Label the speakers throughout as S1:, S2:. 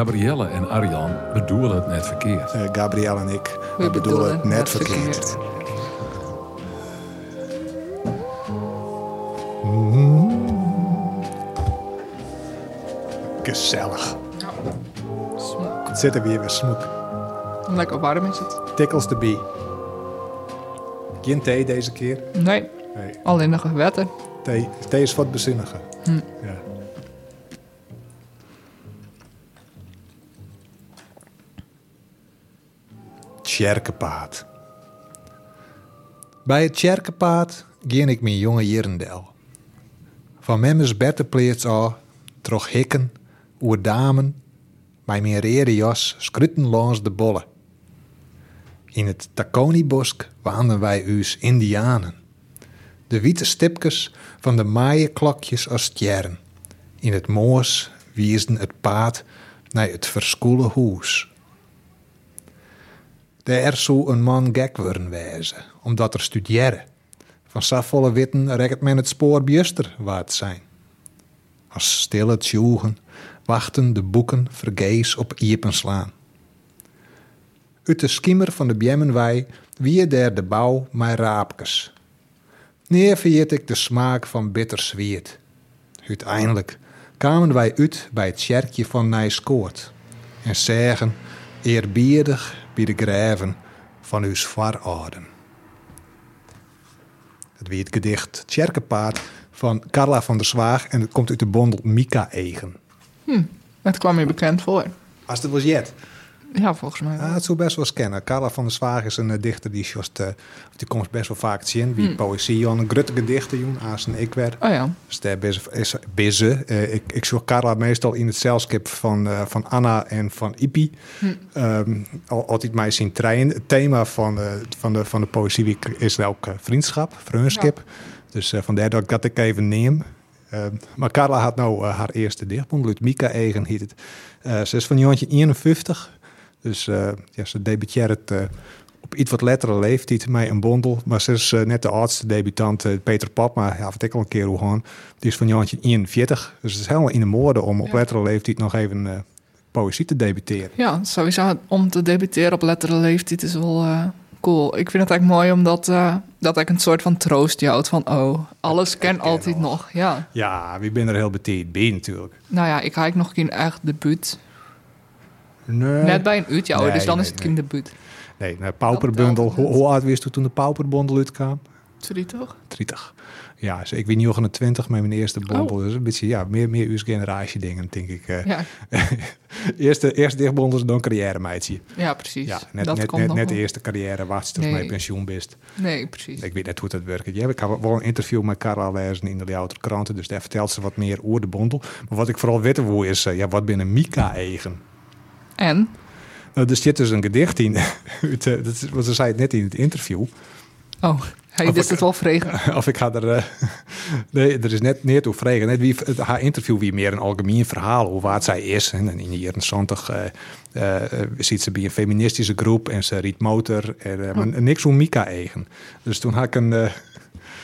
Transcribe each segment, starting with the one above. S1: Gabrielle en Arjan bedoelen het net verkeerd.
S2: Eh, Gabrielle en ik we bedoelen het net verkeerd. Gezellig.
S3: Smoek.
S2: Zitten we hier weer smoek.
S3: Lekker warm is het.
S2: Tickles de bie. Geen thee deze keer.
S3: Nee,
S2: Nee,
S3: alleen nog wetten.
S2: thee, thee is wat bezinniger. Ja. Tjerkepaad. Bij het Tjerkepaad ging ik mijn jonge Jerendel. Van memmes bettenpleerts al, troch hikken, oer damen, bij mijn rere jas scrutten langs de bolle. In het Taconibosk waanden wij u's Indianen. De witte stipkes van de maaienklokjes als sterren. In het moos wiesden het paad naar het verskoele hoes. Daar zou een man gek worden wezen, omdat er studeren. Van safvolle witten rekt men het spoor bjuster waard zijn. Als stille tjoegen wachten de boeken vergees op iepen slaan. Uit de schimmer van de Bjemmenwei wie daar de bouw maar raapkes. Neer verjeet ik de smaak van bitter zwiert. Uiteindelijk kwamen wij uit bij het sjerkje van Nijskoort en zeggen eerbiedig bij de graven van uw voorouden. Het wie het gedicht Tjerkepaard van Carla van der Zwaag en het komt uit de bondel Mika Egen.
S3: Het kwam je bekend voor.
S2: Als het was Jet.
S3: Ja, volgens mij. wel.
S2: Ah, het zou best wel eens kennen. Carla van der Zwaag is een eh, dichter die, just, eh, die komt best wel vaak te zien. Wie poëzie, aan grutte gedichten, joen, als een ik werd.
S3: Oh ja.
S2: Dus daar ben ze- is bezig. Eh, ik, ik zoek Carla meestal in het zeilskip van, eh, van Anna en van Ipi. Ehm, al, altijd mij zien trein. Het thema van, eh, van, de, van de poëzieweek is ook eh, vriendschap, vriendschap. Dus eh, vandaar dat ik dat ik even neem. Ehm, maar Carla had nou eh, haar eerste dichtbundel uit Mika Egen heet het. Eh, ze is van Jantje 51. Dus eh, ja, ze debuteert eh, op iets wat lettere leeftijd mij een bondel. Maar ze is eh, net de oudste debutant, eh, Peter Pap, maar ja, vertel ik al een keer hoe gaan. Die is van Jantje 41. Dus het is helemaal in de mode om op
S3: Ja.
S2: lettere leeftijd nog even eh, poëzie te debuteren.
S3: Ja, sowieso om te debuteren op letteren leeftijd is wel eh, cool. Ik vind het eigenlijk mooi omdat eh, dat ik een soort van troost joud van oh, alles ken
S2: ken
S3: altijd
S2: alles.
S3: nog. Ja.
S2: Ja, wie ben er heel betierd bij natuurlijk.
S3: Nou ja, ik haak nog geen echt debuut.
S2: Nee,
S3: Net bij een uurtje ouder,
S2: Eh, Nee,
S3: dus dan
S2: nee,
S3: is het
S2: nee.
S3: geen debuut.
S2: nee nou, pauperbundel.
S3: Dat telt
S2: Hoe,
S3: niet.
S2: hoe oud was toen toen de pauperbundel uitkwam?
S3: Sorry toch?
S2: 30. Ja, dus ik weet niet of een 20 met mijn eerste
S3: Oh.
S2: bondel. Dus een beetje, ja, meer, meer uw generatie dingen, denk ik. eh.
S3: Ja,
S2: eerste, eerst dichtbondels, dan carrière meidje.
S3: ja precies.
S2: Ja, net,
S3: dat
S2: net,
S3: komt
S2: net,
S3: nog
S2: net de
S3: wel.
S2: eerste carrière wacht tot
S3: Nee.
S2: mijn pensioen bent.
S3: Nee, precies.
S2: Ik weet net hoe dat werkt. Ja, ik had wel een interview met Carla lezen in de Louter kranten, dus daar vertelt ze wat meer over de bondel. Maar wat ik vooral weten wil is, eh, ja, wat binnen Mika eigen?
S3: En?
S2: Nou, er zit dus een gedicht in, uit, eh, dat is- want ze zei het net in het interview.
S3: Oh, hij
S2: Of
S3: is
S2: ik-
S3: het wel vregen.
S2: of ik ga er. eh, nee, er is net neer toe vregen. Net wie, het, haar interview wie meer een algemeen verhaal hoe waard zij is. En in de jaren 70 eh, eh, eh, ziet ze bij een feministische groep en ze riet motor. En, eh, maar niks om Mika eigen. Dus toen had ik een. eh,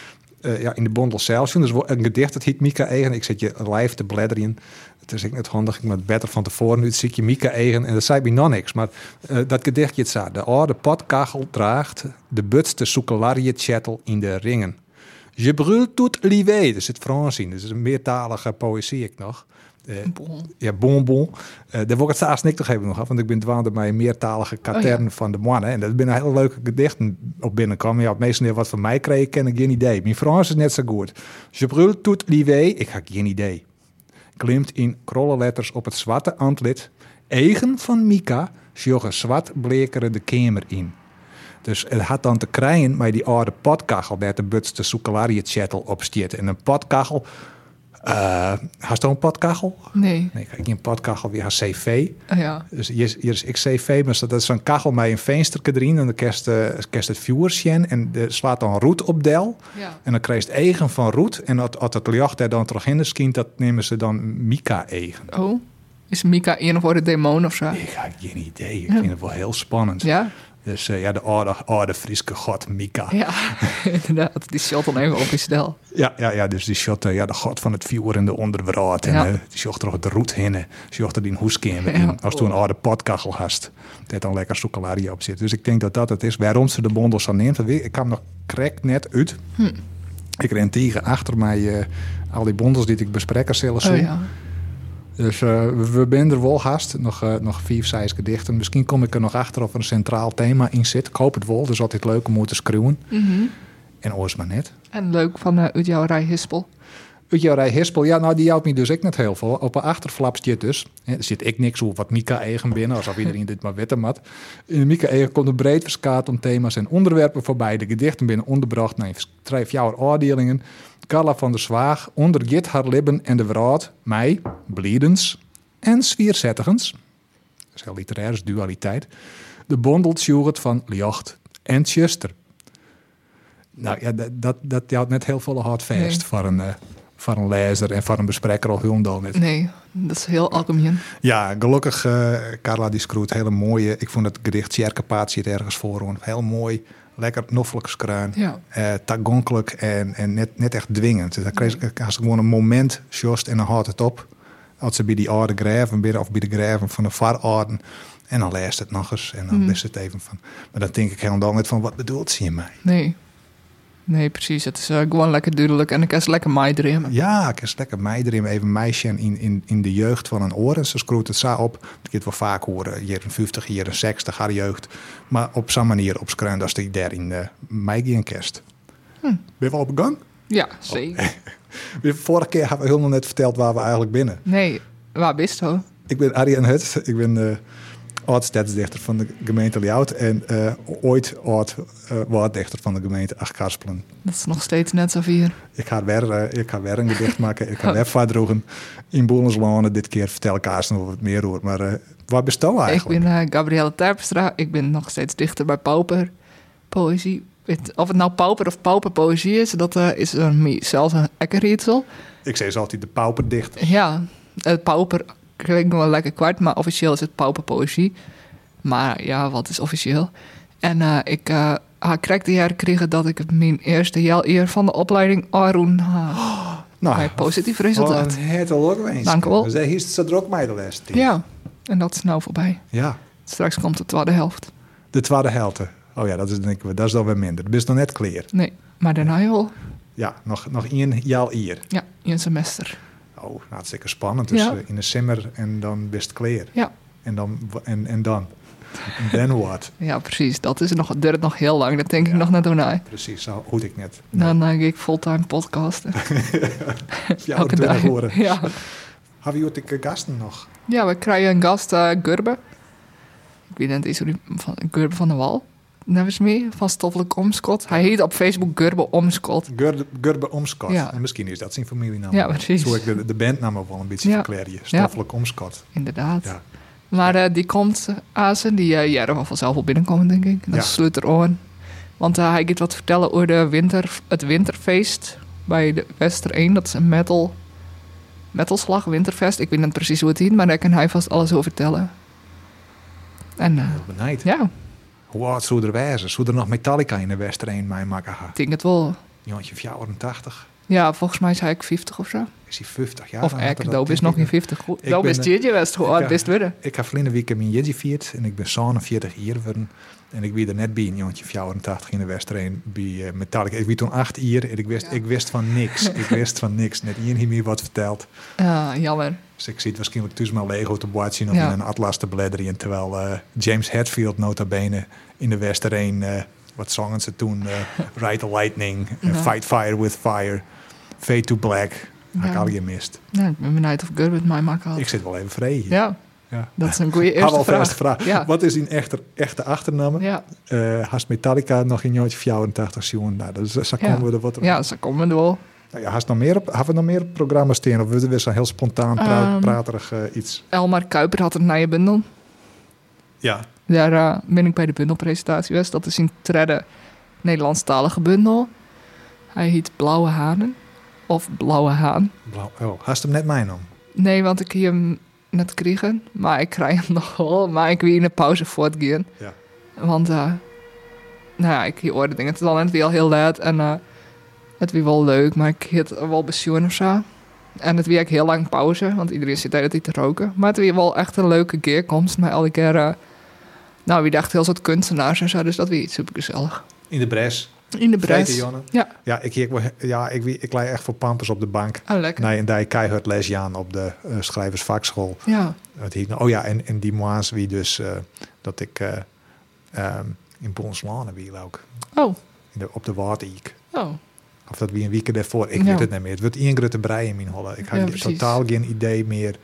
S2: eh, ja, in de bondel zelfs. Dus wo- een gedicht, dat heet Mika Eigen. Ik zet je live te bladderen. Het is ik net handig, ik moet beter van tevoren. Nu zie ik je Mika Eigen en dat zei bij nog niks. Maar eh, dat gedichtje het staat. De oude potkachel draagt de butste soekelarie chattel in de ringen. Je brult tot livé. Dat zit Frans in. Dat is een meertalige poëzie ik nog. Eh,
S3: Bon.
S2: ja, bonbon. Eh daar wil ik het straks niks nog even nog af, want ik ben dwaande bij een meertalige katern
S3: Oh,
S2: van de mannen. En dat binnen hele leuke gedichten op binnenkomen. Ja, het meeste deel wat van mij kreeg, ken ik geen idee. Mijn Frans is net zo goed. Je brult tout livé, ik heb geen idee. Klimt in krolle letters op het zwarte antlit. Eigen van Mika, sjoggen zwart blekere de kamer in. Dus het had dan te krijgen met die oude potkachel, daar de butste soekelarie-chattel op stiet. En een potkachel, eh had je al een potkachel?
S3: Nee.
S2: Nee, kijk, een potkachel weer haar cv.
S3: Oh, ja.
S2: Dus hier is, hier is ik cv, maar dat is zo'n kachel met een vensterke erin. En dan kerst, eh, kerst het viewers in en de, slaat dan roet op del.
S3: Ja.
S2: En dan krijg je het eigen van roet. En als als het licht er dan terug in de schijnt, dat nemen ze dan Mika eigen.
S3: Oh, is Mika een of andere demon of zo?
S2: Ik heb geen idee. Ik vind het wel heel spannend.
S3: Ja?
S2: Dus eh, ja, de oude, oude Friese god Mika. Ja,
S3: Ja, inderdaad. Die shot dan even op je stel.
S2: ja, ja, dus die shot, eh, ja, de god van het vuur en de onderwraad. En
S3: Ja.
S2: eh, die zocht er ook de roet hinnen. Zocht er die hoes in.
S3: Ja.
S2: Als toen een oude potkachel hast, dat dan lekker chocolade op zit. Dus ik denk dat dat het is. Waarom ze de bondels aan neemt, dat weet ik Ik kwam nog krek net uit.
S3: Hm.
S2: Ik ren tegen achter mij eh, al die bondels die ik bespreken zelfs.
S3: Oh ja.
S2: Dus eh, we, we ben er wel haast. Nog, eh, nog vier zes gedichten. Misschien kom ik er nog achter of er een centraal thema in zit. Ik hoop het wel. Dus altijd leuk om te schreeuwen.
S3: Mhm.
S2: En oors maar net.
S3: En leuk van eh uit jouw rij Hispel.
S2: Uit jouw rij Hispel, ja, nou die houdt me dus ik net heel veel. Op een achterflap zit dus. Hè, er zit ik niks op wat Mika eigen binnen, alsof iedereen dit maar wetten mat. In de Mika eigen komt een breed verskaat om thema's en onderwerpen voorbij. De gedichten binnen onderbracht naar vijf jouw oordelingen. Carla van der Zwaag ondergit haar libben en de wraad, mij, bliedens en zwierzettigens. Dat is heel literair, is dualiteit. De bondelt Sjoerd van Ljocht en Chester. Nou ja, dat, dat, dat houdt net heel veel hard vast
S3: Nee.
S2: voor een, eh, voor een lezer en voor een bespreker al helemaal net.
S3: Nee, dat is heel algemeen.
S2: Ja, gelukkig, eh, Carla die schroeit hele mooie. Ik vond het gedicht Sjerkepaat zit ergens voor. hoor. Heel mooi, lekker noffelijk skruin.
S3: Ja.
S2: Eh, tagonkelijk en, en net, net echt dwingend. Dus Dan kreeg ik als ik gewoon een moment sjost en dan houdt het op. Als ze bij die oude graven bidden of bij de graven van de varaarden. En dan leest het nog eens en dan is het even van. Maar dan denk ik helemaal niet van wat bedoelt ze hiermee?
S3: Nee. Nee, precies. Het is eh, gewoon lekker duidelijk en ik kan ze lekker mij dreamen.
S2: Ja, ik is lekker mij erin, even meisje in, in, in de jeugd van een oren. Ze schroeit het zo op. Ik heb het wel vaak horen, hier een 50, hier een 60, haar jeugd. Maar op zo'n manier opschruimd als die daar in eh mei en kerst. Ben je wel op gang?
S3: Ja, zeker.
S2: Vorige keer hebben we helemaal net verteld waar we eigenlijk binnen.
S3: Nee, waar bist ho?
S2: Ik ben Arjen Hut, ik ben eh oud-stadsdichter van de gemeente Ljout. En eh, ooit oud-waarddichter van de gemeente Achtkarspelen.
S3: Dat is nog steeds net zo vier.
S2: Ik ga weer, eh, ik ga weer een gedicht maken. Ik ga weer verdroegen. In Boelenslaan. Dit keer vertel ik haast nog wat meer hoor. Maar eh waar bestel
S3: Ik
S2: eigenlijk?
S3: ben eh Gabrielle Terpstra. Ik ben nog steeds dichter bij Pauper. Poëzie. Het- Of het nou pauper of pauperpoëzie is, dat eh, is een, mie- zelfs een ekkerrietsel.
S2: Ik zei ze altijd de pauper dicht.
S3: Ja, het pauper klinkt nog wel lekker kwart, maar officieel is het pauperpoëzie. Maar ja, wat is officieel? En eh, ik eh had krek de jaar kregen dat ik mijn eerste jaar eer van de opleiding Arun had.
S2: Nou,
S3: Bij positief resultaat.
S2: wat het al ook eens.
S3: Dank u wel.
S2: Dus daar is het zo ook mij de les.
S3: Ja, en dat is nou voorbij.
S2: ja.
S3: Straks komt de tweede helft.
S2: De tweede helte. Oh ja, dat is, denk ik, dat is dan weer minder. Dat is nog net clear.
S3: Nee, maar daarna al.
S2: Ja, nog, nog één jaal hier.
S3: Ja, in een semester.
S2: Oh, hartstikke spannend. Dus
S3: Ja.
S2: eh, in de simmer en dan best clear.
S3: Ja,
S2: En dan, wa- en, en dan? En dan wat?
S3: ja precies. Dat is nog, duurt nog heel lang. Dat denk ik nog net daarna.
S2: Precies, zo hoed ik net.
S3: Dan denk ik fulltime podcasten.
S2: Ja,
S3: Elke
S2: dat
S3: dag.
S2: horen.
S3: Ja.
S2: Hebben jullie de gasten nog?
S3: ja, we krijgen een gast, eh Gurbe. Ik weet niet eens hoe die... Van, Gurbe van de Wal. Namens mee, van Stoffelijk Omskot. Hij heet op Facebook Gurbe Omskot.
S2: Gurbe, Gurbe Omskot.
S3: Ja.
S2: En misschien is dat zijn familienaam.
S3: Ja, precies.
S2: Zo ik de, de bandnaam ook wel een beetje
S3: Ja.
S2: verklaren. Stoffelijk Omskot.
S3: Inderdaad.
S2: Ja.
S3: Maar eh, die komt eh, aan ze. Die eh jaren wel vanzelf wel binnenkomen, denk ik. En dat
S2: Ja.
S3: sluit er aan. Want eh, hij gaat wat vertellen over de winter, het winterfeest bij de Wester 1. Dat is een metal, metalslag winterfest. Ik weet niet precies hoe het heet, maar daar kan hij vast alles over vertellen. En eh,
S2: Benijd.
S3: ja,
S2: Hoe oud zou er wijzen? Zou er nog Metallica in de Westereen mij maken gaan?
S3: ik denk het wel.
S2: Jantje 84.
S3: Ja, volgens mij is hij ook 50 of zo.
S2: Is hij 50 jaar?
S3: of
S2: Dan had er
S3: ik,
S2: dat
S3: Doop is
S2: denk
S3: nog
S2: ik-
S3: geen Nou, 50. Goed,
S2: Ik
S3: Doop
S2: ben,
S3: is
S2: eh,
S3: Jidje West, hoe
S2: ik
S3: oud
S2: ga-
S3: bist worden.
S2: Ik ga vrienden week in mijn Jedi viert en ik ben 47 hier worden. En ik wie er net bij een jongetje 84 in de Westereen bij eh, Metallica. Ik wie toen 8 hier en ik wist, ik wist van niks. ik wist van niks. Net iedereen hier meer wat verteld.
S3: Ja, jammer.
S2: Dus ik zie het waarschijnlijk tussen mijn Lego te boord zien of
S3: Ja.
S2: in een atlas te bladeren. Terwijl eh, James Hetfield nota bene in de Westereen, eh, wat zongen ze toen? eh Ride the Lightning, eh,
S3: Ja.
S2: Fight Fire with Fire, Fade to Black. Had ik
S3: Ja.
S2: al gemist.
S3: Nou, ik ben benieuwd of Gurb het mij maken had.
S2: Ik zit wel even vrij hier.
S3: Ja,
S2: Ja.
S3: dat is een goede
S2: Had
S3: eerste
S2: al
S3: vraag.
S2: vast vraag.
S3: Ja.
S2: Wat is in echte, echte achternaam?
S3: Ja,
S2: Eh, haast Metallica nog in jongetje 84 zien. Nou, dus, daar
S3: Ja.
S2: komen we er wat op.
S3: ja, ze komen er wel.
S2: Nou ja, haast nog meer op, hebben we nog meer programma's tegen? Of willen we zo'n heel spontaan, pra-
S3: Ehm.
S2: praterig eh, iets?
S3: Elmar Kuiper had een nieuwe bundel.
S2: Ja.
S3: Daar eh, ben ik bij de bundelpresentatie geweest. Dat is een tredde Nederlandstalige bundel. Hij heet Blauwe Hanen. Of Blauwe Haan.
S2: Blauw. Oh, haast hem net mij om.
S3: Nee, want ik heb hem net kregen. Maar ik krijg hem nog wel. Maar ik wil in de pauze voortgaan.
S2: Ja.
S3: Want, eh, nou ja, ik hoorde dingen. Het is al net weer al heel laat en eh, het was wel leuk, maar ik had wel bezoen of zo. En het was ook heel lang pauze, want iedereen zit tijd te roken. Maar het was wel echt een leuke keerkomst, maar elke keer, eh, nou, wie dacht heel soort kunstenaars en zo, dus dat was iets supergezellig.
S2: In de bres.
S3: In de
S2: Vreten,
S3: bres.
S2: Jonne.
S3: Ja.
S2: Ja, ik, ik, ja, ik, ik lei echt voor pampers op de bank.
S3: Ah, lekker.
S2: Nee, en daar keihard lesje aan op de eh, schrijversvakschool.
S3: Ja.
S2: Het hiet- oh ja, en, en die moas wie dus eh, dat ik eh, ehm, in Bonslane wie ook.
S3: Oh,
S2: In de, op de Waardijk.
S3: oh.
S2: Of dat wie een weekend daarvoor. Ik
S3: Ja.
S2: weet het niet meer. Het wordt één grote brei in mijn holle. Ik
S3: Ja,
S2: heb
S3: precies.
S2: totaal geen idee meer.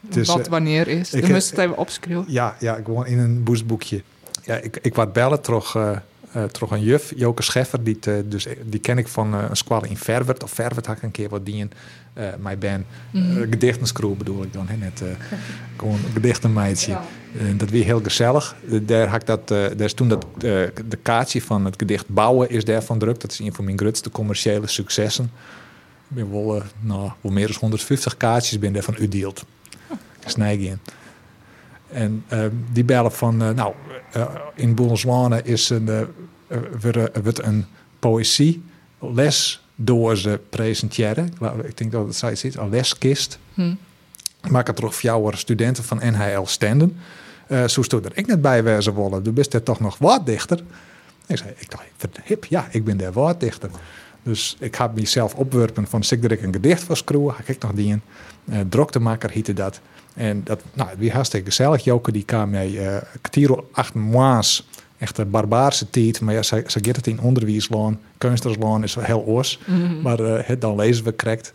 S2: Dus,
S3: wat
S2: eh,
S3: wanneer is.
S2: ik
S3: Dan
S2: heb-
S3: moest het even opschreeuwen.
S2: Ja, ja, gewoon in een boestboekje. Ja, ik, ik werd bellen toch eh eh, toch een juf, Joke Scheffer, die, het, eh, dus, die ken ik van eh, een squad in Verwert. Of Verwert had ik een keer wat dingen, eh mijn band.
S3: Mhm.
S2: Eh, gedichtenscrew bedoel ik dan, hè, net. eh, gewoon een gedichtenmeidje. En Eh, dat weer heel gezellig. Eh, Daar, had ik dat, eh, daar is toen dat, eh, de kaartje van het gedicht Bouwen is daarvan drukt. Dat is een van mijn grootste commerciële successen. Ik ben wel, eh, nou, wel meer dan 150 kaartjes ben daarvan udeeld. Snij ik in. En eh, die bellen van, eh, nou, eh, in Boelenswane is een, eh, eh, wordt, eh, wordt een poëzieles door ze presenteren. Ik geloof- Ik denk dat het zoiets is, een leskist.
S3: Hm.
S2: Ik maak het toch voor jouw studenten van NHL Stenden. Eh zo stond er ik net bij wezen wollen. Du bist er toch nog wat dichter. Ik zei, ik dacht, "Wat hip, ja, ik ben daar wat dichter. Dus ik heb mezelf opwerpen van zit er ik een gedicht van screwen, had ik nog die in. Eh droktemaker hiette dat. En dat, nou, wie hartstikke gezellig. Joke die kwam mee, eh Ktiro acht maas. Echt een barbaarse tijd, maar ja, ze, ze gaat het in onderwijslaan, kunsterslaan is wel heel oors.
S3: Mhm.
S2: Maar eh, het dan lezen we correct.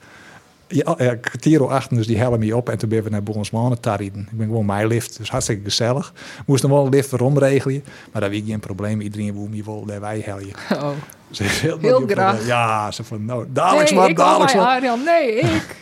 S2: Ja, eh, Tiro achter, dus die hellen me op. En toen ben we naar Bonsmanen tariden. Ik ben gewoon mijn lift, dus hartstikke gezellig. Moest dan wel een lift erom regelen. Maar dat was geen probleem. Iedereen wil me wel daar wij hellen.
S3: Oh.
S2: Ze is heel
S3: Heel
S2: geen
S3: graag.
S2: probleem. Ja, ze van, nou, dadelijk
S3: nee,
S2: wat,
S3: ik wil
S2: dadelijk
S3: bij
S2: wat.
S3: Arjan. Nee, ik.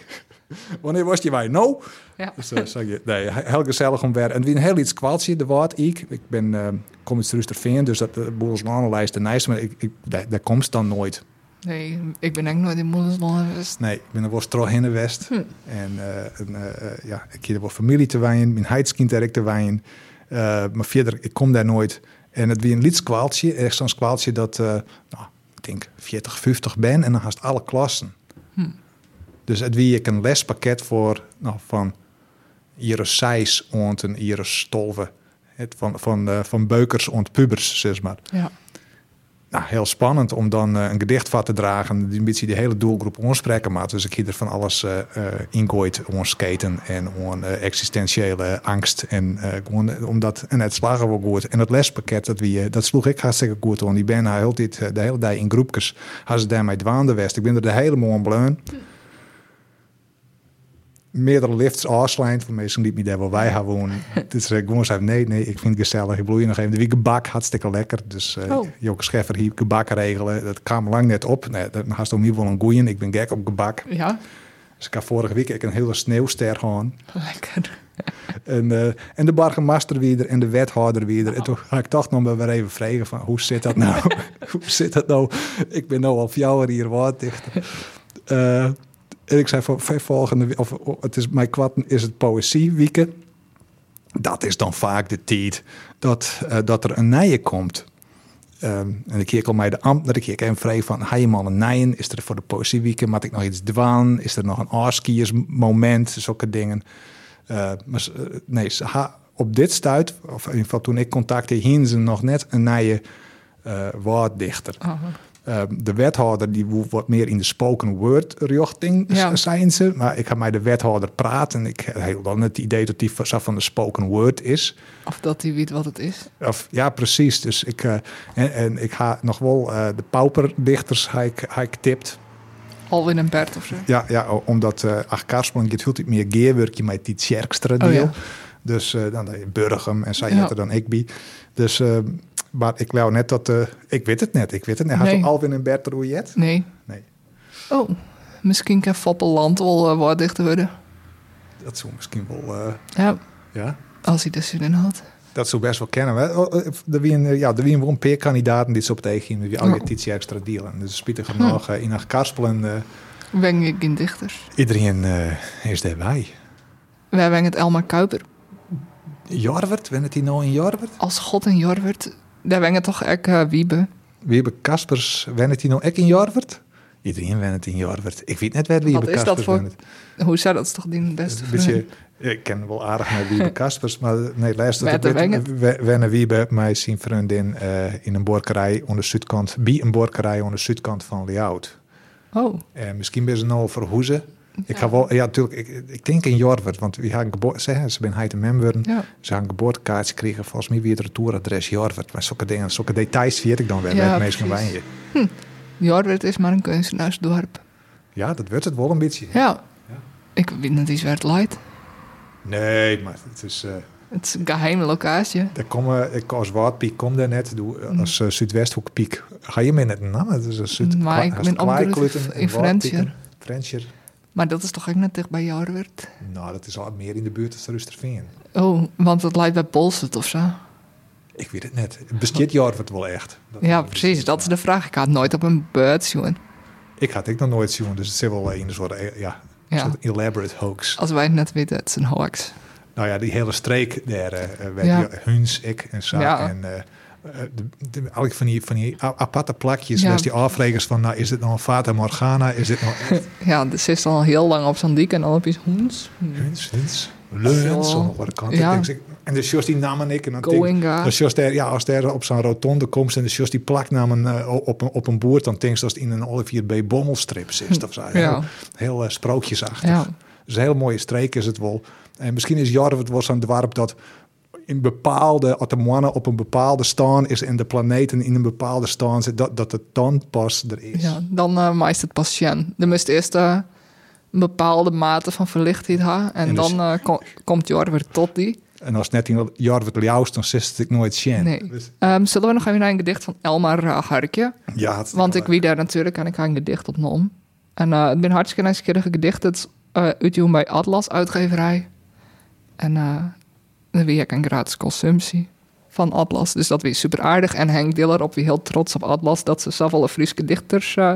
S2: Wanneer was je bij? Nou?
S3: Ja.
S2: Dus, eh, zeg je, nee, he- heel gezellig om weer. En wie een heel iets kwaltje, de waard ik. Ik ben, eh kom uit Rusterveen, dus dat de Boerslanenlijst de Nijs. Maar ik, ik, daar, daar komt ze dan nooit.
S3: Nee, ik ben echt nooit in Moedersland geweest.
S2: Nee, ik ben er wel stro in de West.
S3: Hm.
S2: En eh, en, eh, eh, ja, ik heb er wel familie te wijnen, mijn heidskind er ik te wijnen. Eh, maar verder, ik kom daar nooit. En het wie een liedskwaaltje, echt zo'n kwaaltje dat, eh, nou, ik denk 40, 50 ben en dan haast alle klassen.
S3: Hm.
S2: Dus het wie ik een lespakket voor, nou, van Iris Seis ont en Iris Stolve. Het van, van, eh, van beukers ont pubers, zeg maar
S3: Ja.
S2: nou, heel spannend om dan eh, een gedicht van te dragen. Die een beetje de hele doelgroep onspreken maakt. Dus ik hier er van alles eh eh, ingooit. Onsketen en on, eh, existentiële angst. En eh, gewoon eh, omdat, en het slagen wel goed. En dat lespakket, dat, wie, eh, dat sloeg ik hartstikke goed om. Die ben heel dit, eh, de hele dag in groepjes. Had ze daarmee dwaande west. Ik ben er de hele morgen bleun. Meerdere lifts afslijnd. Voor mensen liep me daar wel wij gaan wonen. Dus ik gewoon zei, nee, nee, ik vind het gezellig. Ik bloei nog even. De week gebak, hartstikke lekker. Dus eh,
S3: Oh.
S2: Joke Scheffer hier gebak regelen. Dat kwam lang net op. Nee, dat haast om hier wel een goeien. Ik ben gek op gebak.
S3: Ja,
S2: Dus ik had vorige week ik een hele sneeuwster gewoon.
S3: lekker.
S2: En, eh, en de bargemaster weer en de wethouder weer. En toen ga ik toch nog maar weer even vragen van hoe zit dat nou? hoe zit dat nou? Ik ben nou al vier hier wat dichter. Eh, en ik zei van van volgende we- of, of- het is mijn kwatten is het poëzieweekend. Dat is dan vaak de tijd dat, eh, dat er een nijen komt. Ehm, en ik keer al mij de ambt dat ik keer even vraag van ga je man een nijen? Is er voor de poëzieweekend moet ik nog iets dwaan? Is er nog een aanskiersmoment? Zulke dingen. Eh, maar ze- eh, nee, ze ha- op dit stuit, of in ieder geval toen ik contacte, hingen ze nog net een nije eh woorddichter.
S3: Oh,
S2: Eh, de wethouder die woe- wat meer in de spoken word richting s-
S3: Ja.
S2: zijn ze. Maar ik ga met de wethouder praten en ik eh, heb dan het idee dat die van- zo van de spoken word is.
S3: of dat hij weet wat het is.
S2: Of, ja, precies. Dus ik, eh, en, en ik ga nog wel eh, de pauperdichters ga ik, ga ik tipt.
S3: Alwin en Bert of zo.
S2: Ja, ja o- omdat eh Ach Karsman gaat veel meer geerwerkje met die sterkste deel.
S3: Oh ja.
S2: Dus eh dan de Burgum en zij
S3: Ja.
S2: had er dan ik bij. Dus, eh, maar ik wou net dat... eh, ik weet het net, ik weet het net. Had
S3: Nee.
S2: het Alwin en Bert Rouillet?
S3: Nee.
S2: Nee,
S3: Oh, misschien kan Foppeland wel eh, wat dichter worden.
S2: dat zou misschien wel... eh,
S3: Ja,
S2: ja.
S3: als hij de zin in had.
S2: Dat zou best wel kennen. Hè? Oh, eh, Er wien, eh, ja, er wien wel een paar kandidaten die ze op tegen die al je
S3: Oh. Hm.
S2: titie extra dealen. Dus spietig genoeg, eh, in Ach Karspelen, eh,
S3: Weng ik in dichters.
S2: iedereen eh, is daarbij.
S3: Wij wengen het Elma Kuiper.
S2: Jorwert, wen het die nou in Jorwert?
S3: Als God en Jor werd, Daar wengen toch echt eh, wiebe.
S2: Wiebe Kaspers, wennet hij nou ook in Jorvert? Iedereen wennet in Jorvert. Ik weet net waar Wiebe
S3: Wat is
S2: Kaspers
S3: dat voor?
S2: wennet.
S3: Hoe zou dat is toch die beste
S2: Een
S3: vriend?
S2: beetje, ik ken wel aardig naar Wiebe Kaspers, maar eh, nee, luister.
S3: Met de
S2: ik weet-
S3: wengen.
S2: we- Wennen Wiebe, mij zijn vriendin eh, in een borkerij aan de zuidkant, bij een borkerij aan de zuidkant van Liaut.
S3: Oh,
S2: En misschien ben ze nou verhoezen. Ik ga
S3: Ja.
S2: wel, ja, natuurlijk, ik, ik denk in Jorvert, want we gaan geboorte, ze, ze ben heid en mem worden.
S3: ja.
S2: Ze hadden een geboortekaartje kregen, volgens mij weer het retouradres Jorvert. Maar zulke dingen, zulke details weet ik dan wel.
S3: Ja,
S2: Ja, meestal
S3: precies.
S2: bij je.
S3: Jorwert is maar een kunstenaarsdorp.
S2: Ja, dat wordt het wel een beetje.
S3: Ja. Ik weet niet eens waar het leidt.
S2: Nee, maar het is. eh
S3: Het is een geheime locatie.
S2: daar komen, ik als Waardpiek kom daar net, doe,
S3: Mm.
S2: eh, als eh, Zuidwesthoekpiek. Ga je mee net naam? Het is een Zuid.
S3: Maar
S2: kwa-
S3: ik
S2: als
S3: ben opgegroeid
S2: Kwaaikluten en
S3: in Frensjer.
S2: Waardpieken. Frensjer.
S3: Maar dat is toch ook net dicht bij Jorwert?
S2: Nou, dat is al meer in de buurt als Rusterveen.
S3: Oh, want het leidt bij Polsert of zo.
S2: Ik weet het net. Besteedt Jorvert wel echt? Dat-
S3: Ja, precies. Dat is de vraag. Ik had nooit op een beurt zien.
S2: Ik had ik nog nooit zien, dus het zit wel een soort, eh, ja, een
S3: Ja.
S2: soort elaborate hoax.
S3: Als wij het net weten, het is een hoax.
S2: Nou ja, die hele streek daar, eh eh, werd
S3: Ja.
S2: hier Huns, ik en zo.
S3: Ja.
S2: En eh, eh, de, de, al die van die, van die a- aparte plakjes,
S3: Ja.
S2: was die afregers van, nou, is dit nou een Fata Morgana? Is dit nou echt
S3: Ja, dus ze is al heel lang op zo'n dik en dan op iets hoens.
S2: Huns, Huns, Leuns,
S3: Zo.
S2: aan de andere kant.
S3: Ja.
S2: Ik denk, en dus Jos die nam en ik. En dan denk,
S3: Goinga.
S2: dus Jos daar, ja, als daar op zo'n rotonde komt en de Jos die plak nam een, eh, op, een, op een boer, dan denk je dat het in een Olivier B. Bommelstrip zit of zo. Heel, heel eh, sprookjesachtig.
S3: Ja.
S2: Dus een heel mooie streek is het wel. En misschien is Jorvet wel zo'n dwarp dat in bepaalde atomanen op een bepaalde staan is en de planeten in een bepaalde staan zit, dat, dat de dan pas er is.
S3: Ja, dan eh meest het patiënt. Dan moest eerst eh, een bepaalde mate van verlichtheid hebben. En,
S2: En dus-
S3: dan eh, ko- komt Jor weer tot die.
S2: En als het net in Jorvet Ljouwst, dan zit ik nooit Sjen. Dus
S3: Nee. Ehm, zullen we nog even naar een gedicht van Elmar eh, Harkje?
S2: ja, het-
S3: Want ik wie daar natuurlijk en ik ga een gedicht op nom. En eh, het ben hartstikke nieuwsgierige gedicht. Het is eh, uitgegeven bij Atlas Uitgeverij. En eh dan wie ik een gratis consumptie van Atlas. Dus dat weer super aardig. En Henk Diller op wie heel trots op Atlas dat ze zoveel Friese dichters eh,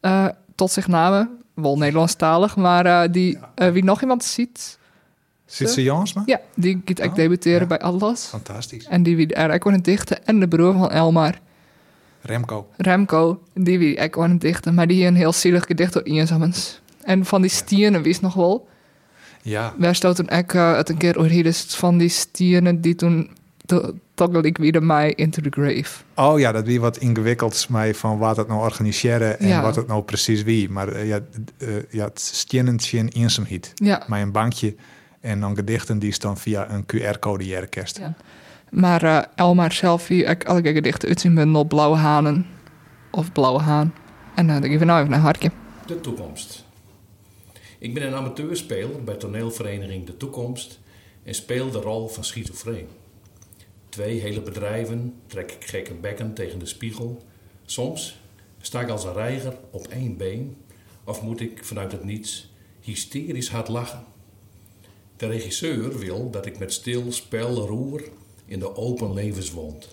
S3: eh, tot zich namen. Wel Nederlandstalig, maar eh, die, eh, wie nog iemand ziet,
S2: Zit ze Jansma?
S3: ja, die gaat ik
S2: Oh,
S3: debuteren
S2: ja.
S3: bij Atlas.
S2: Fantastisch.
S3: En die wie er ook aan het dichten. En de broer van Elmar.
S2: Remco.
S3: Remco, die wie ik aan het dichten, maar die hier een heel zielig gedicht door Ian Sammens. En van die stieren wist nog wel.
S2: Ja.
S3: Wij stoten ik eh, het een keer over hier, dus van die stieren die toen to- toggelde ik weer mij into the grave.
S2: Oh ja, dat wie wat ingewikkeld mij van wat het nou organiseren en
S3: Ja.
S2: wat het nou precies wie. Maar eh, ja, eh, ja, het stienentje in eenzaamheid.
S3: Ja,
S2: Mij een bankje en dan gedichten die is dan via een QR-code die herkest.
S3: Ja. maar eh, Elmar zelf, wie ik elke gedichten uit zijn bundel Blauwe Hanen of Blauwe Haan. En dan denk ik van nou even een hartje.
S4: De toekomst. Ik ben een amateurspeler bij toneelvereniging De Toekomst en speel de rol van schizofreen. Twee hele bedrijven trek ik gekke bekken tegen de spiegel. Soms sta ik als een reiger op één been of moet ik vanuit het niets hysterisch hard lachen. De regisseur wil dat ik met stil spel roer in de open levens woont.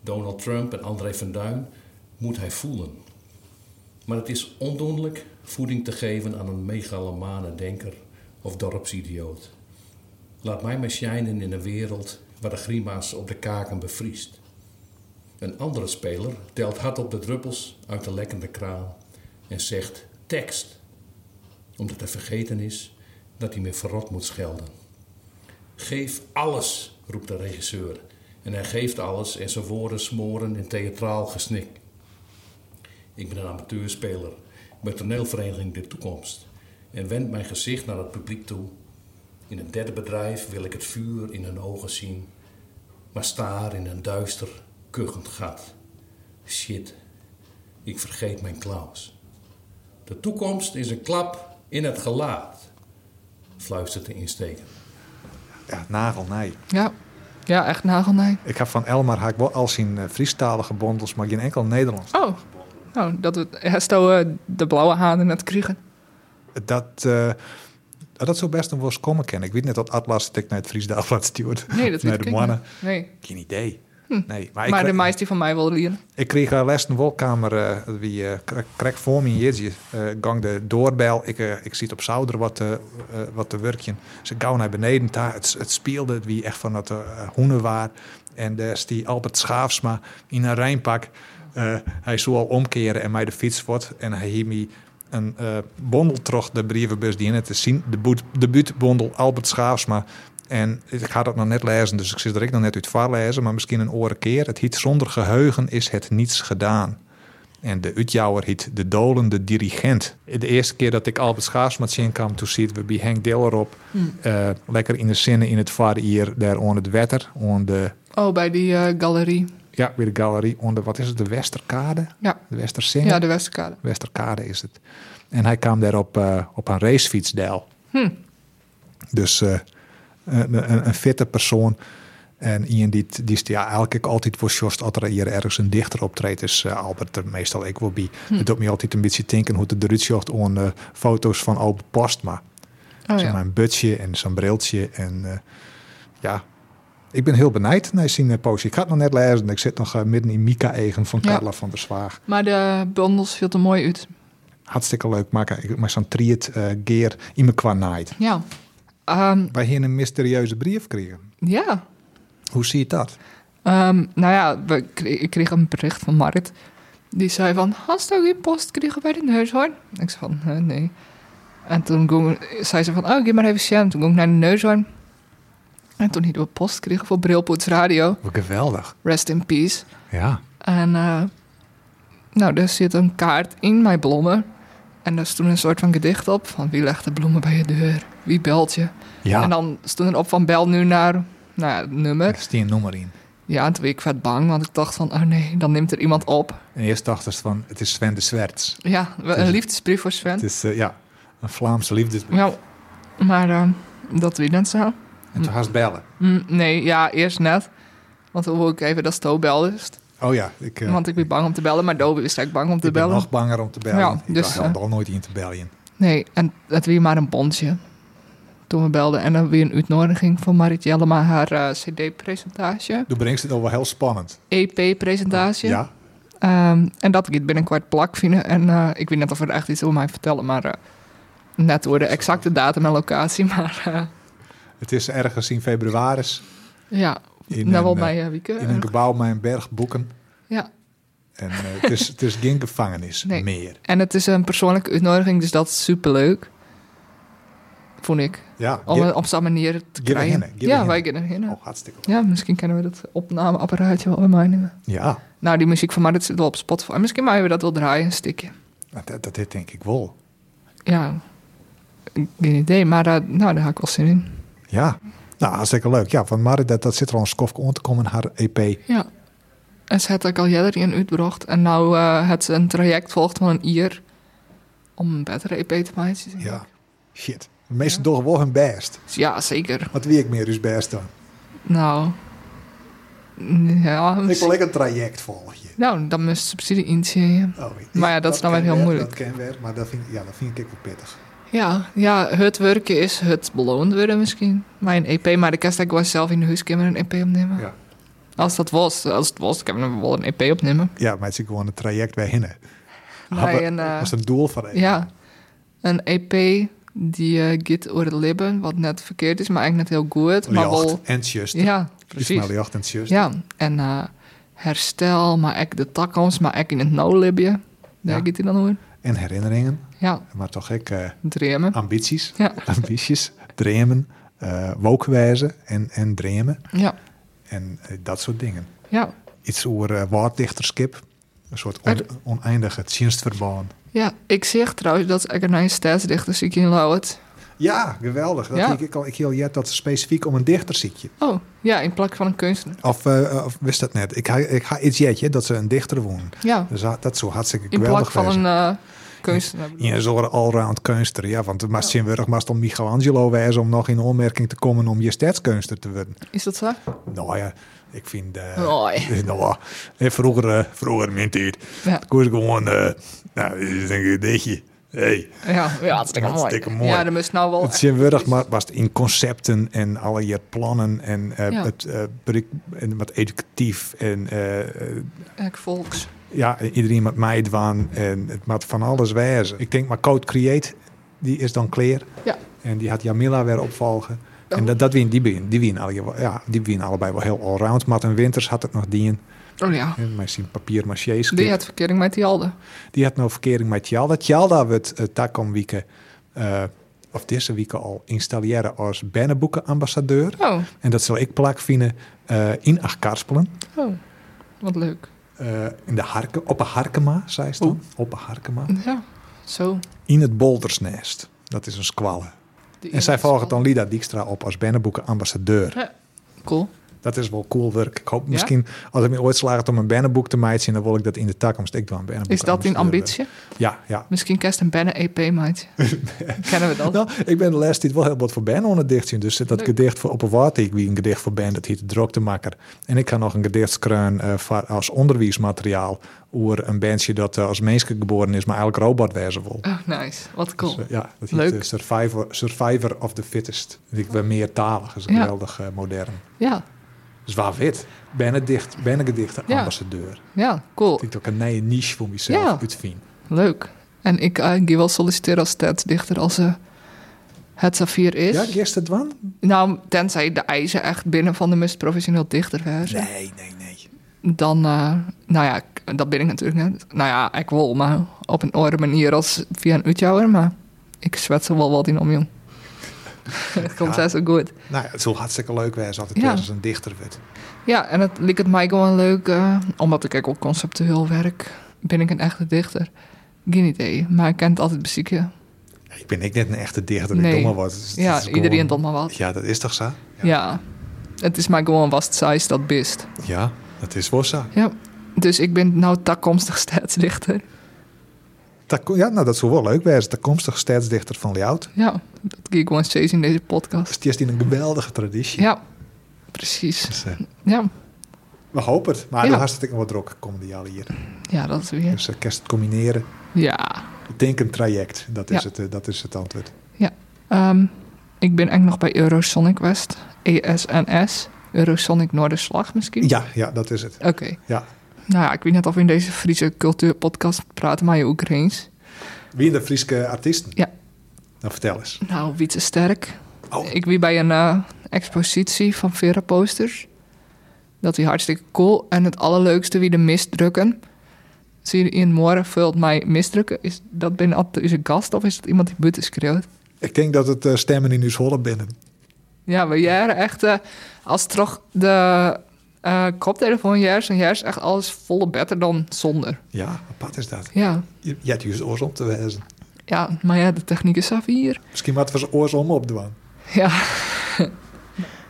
S4: Donald Trump en André van Duin moet hij voelen. Maar het is ondoenlijk voeding te geven aan een megalomane denker of dorpsidioot. Laat mij maar shinen in een wereld waar de grima's op de kaken bevriest. Een andere speler telt hard op de druppels uit de lekkende kraan en zegt tekst, omdat hij vergeten is dat hij meer verrot moet schelden. Geef alles, roept de regisseur. En hij geeft alles en zijn woorden smoren in theatraal gesnik. Ik ben een amateurspeler bij toneelvereniging De Toekomst en wend mijn gezicht naar het publiek toe. In een derde bedrijf wil ik het vuur in hun ogen zien, maar staar in een duister, kuchend gat. Shit, ik vergeet mijn Klaus. De toekomst is een klap in het gelaat, fluistert de insteker.
S2: Ja, nagel, nee.
S3: Ja, ja echt nagelnij.
S2: Ik heb van Elmar haak wel al zijn eh, Friestalige bondels, maar geen enkel Nederlands.
S3: Oh, nou, dat we Hesto eh, de Blauwe Hanen net kregen.
S2: Dat, eh, dat zou best een worst komen kennen. Ik weet net dat Atlas het ik naar het Fries dagblad stuurt.
S3: Nee, Ah, dat weet
S2: naar
S3: ik
S2: de
S3: niet.
S2: mannen.
S3: Nee.
S2: Geen idee. Nee,
S3: Maar,
S2: ik,
S3: de
S2: kreeg,
S3: meisje van mij wil leren.
S2: ik kreeg eh, les in de wolkamer. eh, wie eh, kre- kreeg voor me jeetje. eh gang de doorbel. Ik, eh, ik zit op zouder wat, te- eh, wat te werken. Ze gauw naar beneden. Daar, het, het speelde. Het wie echt van dat eh hoenen waar. En daar die Albert Schaafsma in een rijnpak. Eh, hij zou al omkeren en mij de fiets wordt. En hij hield me een eh bondel terug de brievenbus die in het te zien. De, boet, de buurtbondel Albert Schaafsma. En ik ga dat nog net lezen, dus ik zit er ik nog net uit voorlezen. Maar misschien een oren keer. Het hiet zonder geheugen is het niets gedaan. En de uitjouwer hiet de dolende dirigent. De eerste keer dat ik Albert Schaafsma zien kwam, toen ziet we bij Henk Diller op. eh, lekker in de zinnen in het vader hier, daar onder het wetter. Onder de,
S3: Oh, bij die eh, galerie.
S2: ja, weer de galerie. Onder, wat is het, de Westerkade?
S3: Ja.
S2: De Westerzingen?
S3: Ja, de Westerkade.
S2: Westerkade is het. En hij kwam daar op, eh, op een racefietsdel.
S3: Hm.
S2: Dus eh, een, een, een fitte persoon. En iemand die, het- die is ja, eigenlijk altijd voor Sjost, als er hier ergens een dichter optreedt, is eh, Albert er meestal ik wel bij.
S3: Hm.
S2: Het doet me altijd een beetje denken hoe het eruit zocht aan eh, foto's van Albert Postma.
S3: Oh
S2: Zo'n
S3: ja.
S2: een butje en zo'n briltje. En eh, ja, ik ben heel benijd naar zijn eh, poëzie. Ik ga het nog net lezen. Ik zit nog eh, midden in Mika-egen van
S3: Ja.
S2: Carla van der Zwaag
S3: Maar de bundels viel er mooi uit.
S2: hartstikke leuk maken. Ik maar zo'n triet eh gear in me qua naait.
S3: Ja. Ehm,
S2: Wij hier een mysterieuze brief kregen.
S3: ja.
S2: Hoe zie je dat?
S3: Ehm, nou ja, we kre- ik kreeg een bericht van Marit. Die zei van, hast u geen post kregen bij de neushoorn? Ik zei van, "Eh, nee. En toen ging- zei ze van, oh, geef maar even zien. Toen ging ik naar de neushoorn. En toen hielden we post kregen voor Brilpoets Radio.
S2: geweldig.
S3: Rest in peace.
S2: Ja.
S3: En eh, nou, er zit een kaart in mijn bloemen. En daar stond een soort van gedicht op van wie legt de bloemen bij je deur? Wie belt je?
S2: Ja.
S3: En dan stond er op van bel nu naar, nou ja, het nummer.
S2: Er stond een nummer in.
S3: Ja, en toen werd ik vet bang, want ik dacht van, oh nee, dan neemt er iemand op.
S2: En eerst dachten ze van, het is Sven de Zwerts.
S3: Ja, we- een liefdesbrief voor
S2: Dus- Het
S3: Sven.
S2: is, eh, ja, een Vlaamse liefdesbrief.
S3: Ja, maar ehm, dat wie net zo.
S2: En toen haast bellen.
S3: Mm, nee, ja, eerst net. Want toen hoor ik even dat Sto belde.
S2: Oh ja, ik, eh,
S3: Want ik ben bang om te bellen, maar Dobe is eigenlijk bang om te
S2: ik ben
S3: bellen.
S2: nog banger om te bellen.
S3: Ja,
S2: ik
S3: dus,
S2: had
S3: eh,
S2: al nooit in te bellen.
S3: Nee, en het wie maar een bondje. Toen we belden en dan weer een uitnodiging voor Marit Jellema, haar eh, CD-presentatie,
S2: Toen brengt het al wel heel spannend.
S3: EP-presentatie.
S2: Ja.
S3: Ehm, en dat ik het binnenkort plak vinden. En eh, ik weet net of er echt iets over mij vertellen, maar eh, net door de exacte datum en locatie. Maar eh,
S2: Het is ergens in februari
S3: ja,
S2: In
S3: nou wel
S2: een, eh,
S3: bij eh, Wieke.
S2: in een gebouw met een berg boeken.
S3: ja.
S2: En eh, het, is, het is geen gevangenis
S3: Nee.
S2: meer.
S3: En het is een persoonlijke uitnodiging, dus dat is superleuk. Vond ik.
S2: Ja,
S3: Om
S2: ge-
S3: een- op zo'n manier te
S2: Give a
S3: krijgen.
S2: hinne, give a
S3: ja,
S2: hinne.
S3: wij gaan erin.
S2: oh, hartstikke leuk.
S3: Ja, misschien kennen we dat opnameapparaatje wel bij mij nemen.
S2: Ja.
S3: Nou, die muziek van mij, dat zit wel op Spotify. Misschien mogen we dat wel draaien, een stukje.
S2: Nou, Dat, dat dit denk ik wel.
S3: Ja, geen idee. Maar eh, nou, daar heb ik wel zin in.
S2: Ja. Nou, hartstikke leuk. Ja, van Marit, dat, dat zit er al een skofje om te komen in haar E EP.
S3: Ja. En ze had ook al eerder in uitgebracht. En nou eh het een traject volgt van een jaar om een betere EP te maken.
S2: Ja. Shit. De meesten doen wel hun best.
S3: Dus ja, zeker.
S2: Wat wie ik meer dus best dan?
S3: Nou. Ja,
S2: Ik wil
S3: misschien-
S2: ik een traject volgen.
S3: nou, dan moest subsidie inzien.
S2: Oh, ik-
S3: Maar ja, dat is dan
S2: ken
S3: weer heel moeilijk.
S2: Dat ken weer, maar dat vind, ja, dat vind ik ook wel pittig.
S3: Ja, ja, het werken is het beloond worden misschien. Maar een EP, maar de kerst ik wel zelf in de huiskamer een EP opnemen.
S2: Ja.
S3: Als dat was, als het was, ik heb wel een EP opnemen.
S2: Ja, maar het is gewoon een traject bij hinnen.
S3: Maar een, eh,
S2: was een doel van een.
S3: Ja, een EP die eh gaat over het libben, wat net verkeerd is, maar eigenlijk net heel goed. Maar wel,
S2: Jacht en just.
S3: ja,
S2: Iets maar
S3: precies.
S2: jacht en just.
S3: Ja, en eh, herstel, maar ook de takkomst, maar ook in het no-libje. Daar
S2: Ja.
S3: gaat hij dan over.
S2: En herinneringen.
S3: Ja,
S2: Maar toch ik eh,
S3: dremen.
S2: ambities.
S3: Ja.
S2: Ambities. Dremen. eh wookwijzen en, en dremen.
S3: Ja,
S2: En eh, dat soort dingen.
S3: ja,
S2: iets over uh, waarddichterskip. Een soort on-
S3: Uit-
S2: oneindige dienstverband.
S3: ja. Ik zeg trouwens dat ik er naar een staatsdichter zie ik in Lauwert.
S2: Ja, geweldig. Dat
S3: Ja.
S2: zie ik al. Ik heel jet dat ze specifiek om een dichter ziekje.
S3: Oh, ja, in plak van een kunstenaar.
S2: Of, eh, of wist dat net? Ik ga, ik ga iets jetje dat ze een dichter wonen.
S3: Ja,
S2: Dus dat, dat zou hartstikke
S3: in plak
S2: geweldig
S3: van
S2: wezen.
S3: een eh, kunstenaar. bedoel ik.
S2: Ja, zo'n allround kunster. Ja, want maar Sinwurg maar om Michelangelo wijzen om nog in opmerking te komen om je stadskunster te worden.
S3: Is dat zo?
S2: Nou ja, ik vind. eh,
S3: Mooi.
S2: nou, eh, vroeger, eh, vroeger mint het.
S3: Ja.
S2: Koos gewoon, eh nou, dit is een gedichtje. Hey.
S3: Ja, ja hartstikke mooi.
S2: Hartstikke mooi.
S3: Ja, dan moest nou wel...
S2: Het is zinwurdig, maar was het in concepten en alle je plannen en, eh,
S3: Ja.
S2: het, eh, bereik- en wat educatief. En eh, eh,
S3: Ik volks.
S2: ja, iedereen moet meedoen en het moet van alles wezen. Ik denk maar Code Create, die is dan clear.
S3: Ja.
S2: En die had Jamila weer opvolgen.
S3: Oh.
S2: En dat, dat wien die wien. Die wien, alle, ja, die wien allebei wel heel allround. Matt en Winters had het nog dien.
S3: Oh ja.
S2: En Met zijn papier maché
S3: Die had verkering met die Alde.
S2: die had nou verkering met Tjalda. Tjalda wordt uh, takom wieken, eh, of deze wieken al installeren als bannenboekenambassadeur.
S3: Oh,
S2: En dat zal ik plak vinden eh, in Achkarspelen.
S3: oh. Wat leuk.
S2: eh in de Harke, op een Harkema, zei ze dan. Op een Harkema.
S3: Ja, zo.
S2: In het Boldersnest. Dat is een squalle.
S3: Die
S2: En zij
S3: eerste
S2: volgt
S3: zal-
S2: dan Lida Dijkstra op als bannenboekenambassadeur.
S3: Ja. Cool.
S2: Dat is wel cool werk. Ik hoop misschien, als ik me ooit slaagt om een bannenboek te maaien, dan wil ik dat in de toekomst ik dan een
S3: Is dat
S2: ambassadeur
S3: een ambitie?
S2: ben. Ja, ja.
S3: Misschien kerst een Benne EP, maatje. Kennen we dat?
S2: Nou, ik ben de laatste tijd wel heel wat voor Ben onder het dichtje. Dus dat
S3: Leuk.
S2: gedicht voor op een waard, ik wie een gedicht voor Ben, dat heet de Droktemakker. En ik ga nog een gedicht schrijven eh, voor- als onderwijsmateriaal over een bandje dat eh, als mensje geboren is, maar eigenlijk robot wezen wil.
S3: Oh, nice. Wat
S2: Dus,
S3: cool.
S2: eh, ja, dat heet
S3: Leuk.
S2: eh, Survivor, Survivor of the Fittest. Dus Ik ben meertalig, dat is
S3: Ja.
S2: geweldig eh, modern.
S3: Ja,
S2: Zwaar wit. Ben het dicht, ben een gedichte
S3: Ja.
S2: ambassadeur.
S3: ja, cool.
S2: Ik ook een nieuwe niche voor mezelf
S3: Ja.
S2: uitvind.
S3: Leuk. En ik eh, ga wel solliciteren als stadsdichter als eh, het safir is.
S2: Ja, gisteren dwan?
S3: Nou, tenzij de eisen echt binnen van de meest professioneel dichter was.
S2: Nee, nee, nee.
S3: Dan, eh, nou ja, ik- dat ben ik natuurlijk net. Nou ja, ik wil, maar op een andere manier als via een uitjouwer. Maar ik zwets er wel wat in om, jong. Het komt
S2: Ja.
S3: best wel goed.
S2: Nou ja, het zal hartstikke leuk zijn als het
S3: Ja.
S2: als een dichter wordt.
S3: Ja, en het liep het mij gewoon leuk, eh, omdat ik ook wel conceptueel werk. Ben ik een echte dichter? Geen idee, maar ik ken het altijd bezieken.
S2: Ik ben ik net een echte dichter,
S3: Nee.
S2: ik doe maar wat. Dus Het is-
S3: Ja,
S2: het is
S3: iedereen
S2: gewoon-
S3: doet maar wat.
S2: Ja, dat is toch zo?
S3: Ja. Het is maar gewoon wat het size dat best.
S2: Ja, dat is wel zo.
S3: Ja. Dus ik ben nou takkomstig stadsdichter.
S2: Dat, ko- ja, nou, dat zou wel leuk zijn. De komstige stadsdichter van Ljout.
S3: Ja, dat ga ik gewoon steeds in deze podcast.
S2: Het is in een geweldige traditie.
S3: Ja, precies.
S2: Dus, eh,
S3: Ja,
S2: we hopen het. Maar
S3: Ja.
S2: dan hartstikke wat druk komende jaren hier.
S3: ja dat is weer.
S2: Dus eh, kerst het combineren.
S3: Ja.
S2: Ik denk een traject. Dat is,
S3: Ja.
S2: het, eh, dat is het antwoord.
S3: Ehm, ik ben eigenlijk nog bij Eurosonic West. E ESNS. Eurosonic Noorderslag misschien.
S2: Ja, ja, dat is het.
S3: Oké.
S2: Ja.
S3: Nou ja, ik weet niet of we in deze Friese cultuurpodcast praten, maar je Oekraïens.
S2: Wie in de Friese artiesten?
S3: Ja.
S2: Nou, vertel eens.
S3: Nou, wie te sterk.
S2: Oh.
S3: Ik wie bij een eh, expositie van Vera Posters. Dat wie hartstikke cool. En het allerleukste wie de misdrukken. Zie je in morgen vult mij misdrukken. Is dat binnen altijd is een gast of is dat iemand die buiten schreeuwt?
S2: Ik denk dat het eh, stemmen in Nieuws-Holland binnen.
S3: Ja, we jaren echt eh, als toch de eh koptelefoon jaren en jaren echt alles volle beter dan zonder.
S2: Ja, apart is dat.
S3: Ja,
S2: Je, je hebt juist oors om te wijzen.
S3: ja maar ja, de techniek is af hier.
S2: Misschien wat we ze oors om opdoen.
S3: Ja.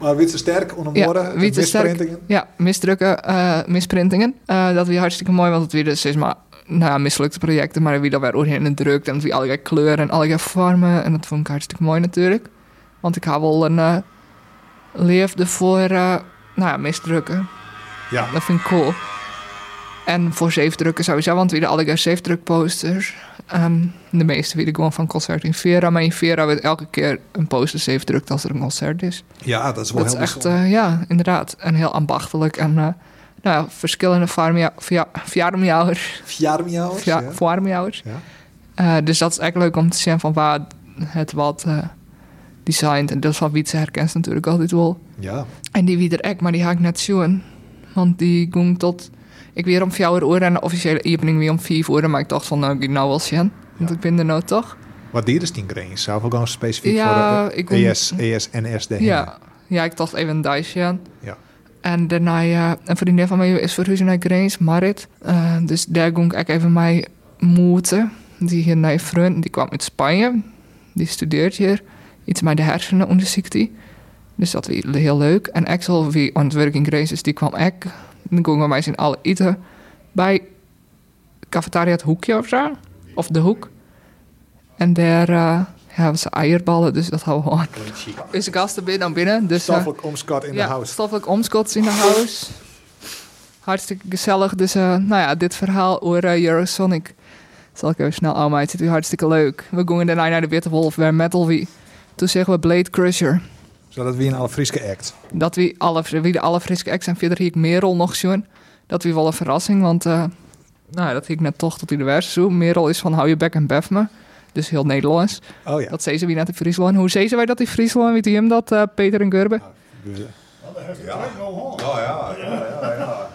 S2: Maar Witse Sterk, onder
S3: Ja,
S2: morgen,
S3: wie te sterk.
S2: misprintingen.
S3: Ja, misdrukken, eh, misprintingen. Eh, dat weer hartstikke mooi, want het weer dus is maar nou ja, mislukte projecten, maar wie dat weer doorheen drukt en het weer allerlei kleuren en allerlei vormen. En dat vond ik hartstikke mooi natuurlijk. Want ik had wel een eh leefde voor, eh, nou ja, misdrukken.
S2: Ja.
S3: Dat vind ik cool. En voor zeefdrukken sowieso, want weer de allerlei zeefdrukposters. Ehm de meeste weer gewoon van concert in Vera, maar in Vera wordt elke keer een poster zeefdrukt als er een concert is.
S2: ja, dat is wel
S3: Dat is
S2: heel
S3: echt,
S2: bijzonder.
S3: eh, ja, inderdaad. En heel ambachtelijk. En eh, nou ja, verschillende farmia- via- farmjouwers.
S2: Fjarmjouwers,
S3: via-
S2: ja.
S3: farmjouwers.
S2: Ja.
S3: Eh, dus dat is echt leuk om te zien van waar het wat eh designt. En dat van Wietse herkent ze natuurlijk altijd wel.
S2: Ja.
S3: En die wie er ook, maar die ga ik net zien. Want die ging tot... Ik weer om vier uur en de officiële opening weer om vijf uur. Maar ik dacht van, nou, ik ga nou wel zien. Want ik ben er nou toch.
S2: Wat dier is die grens? Zou ook gewoon specifiek
S3: Ja,
S2: voor de eh, E
S3: ik-
S2: ES, ESNS de
S3: Ja, Dus, ja ik dacht even een dansje aan.
S2: Ja.
S3: En daarna, eh, een vriendin van mij is verhuisd naar Grains, Marit. Eh, dus daar ging ik even mij moeten. Die hier naar vriend, die kwam uit Spanje. Die studeert hier. Iets met de hersenen onderzoekt hij. Dus dat was heel leuk. En Axel, wie aan het werk in Grains is, die kwam ook. Dan gingen we mij zijn alle eten bij cafetaria het hoekje of zo. Of de hoek. En daar eh, hebben ze eierballen, dus dat houden we aan. Is gasten binnen dan binnen. Dus, eh,
S2: Stoffelijk omschat in de
S3: ja,
S2: house.
S3: stoffelijk omskots in de house. Hartstikke gezellig. Dus eh, nou ja, dit verhaal over eh, Eurosonic Zal ik even snel aan mij. Het is hartstikke leuk. We gingen daarna naar de Witte Wolf bij Metal Wie. Toen zeggen we Blade Crusher.
S2: Zodat we een alle Frieske act.
S3: Dat wie, alle, wie de alle Friske ex en verder hier ik Merel nog zien. Dat wie wel een verrassing, want eh, nou, dat hie ik net toch tot die de werst zo. Merel is van hou je bek en bef me. Dus heel Nederlands.
S2: Oh ja.
S3: Dat zeiden ze wie net in Friesland. Hoe zeiden wij dat in Friesland? Weet u hem dat, eh, Peter en Gerben?
S5: Ja, ja, ja, ja. ja.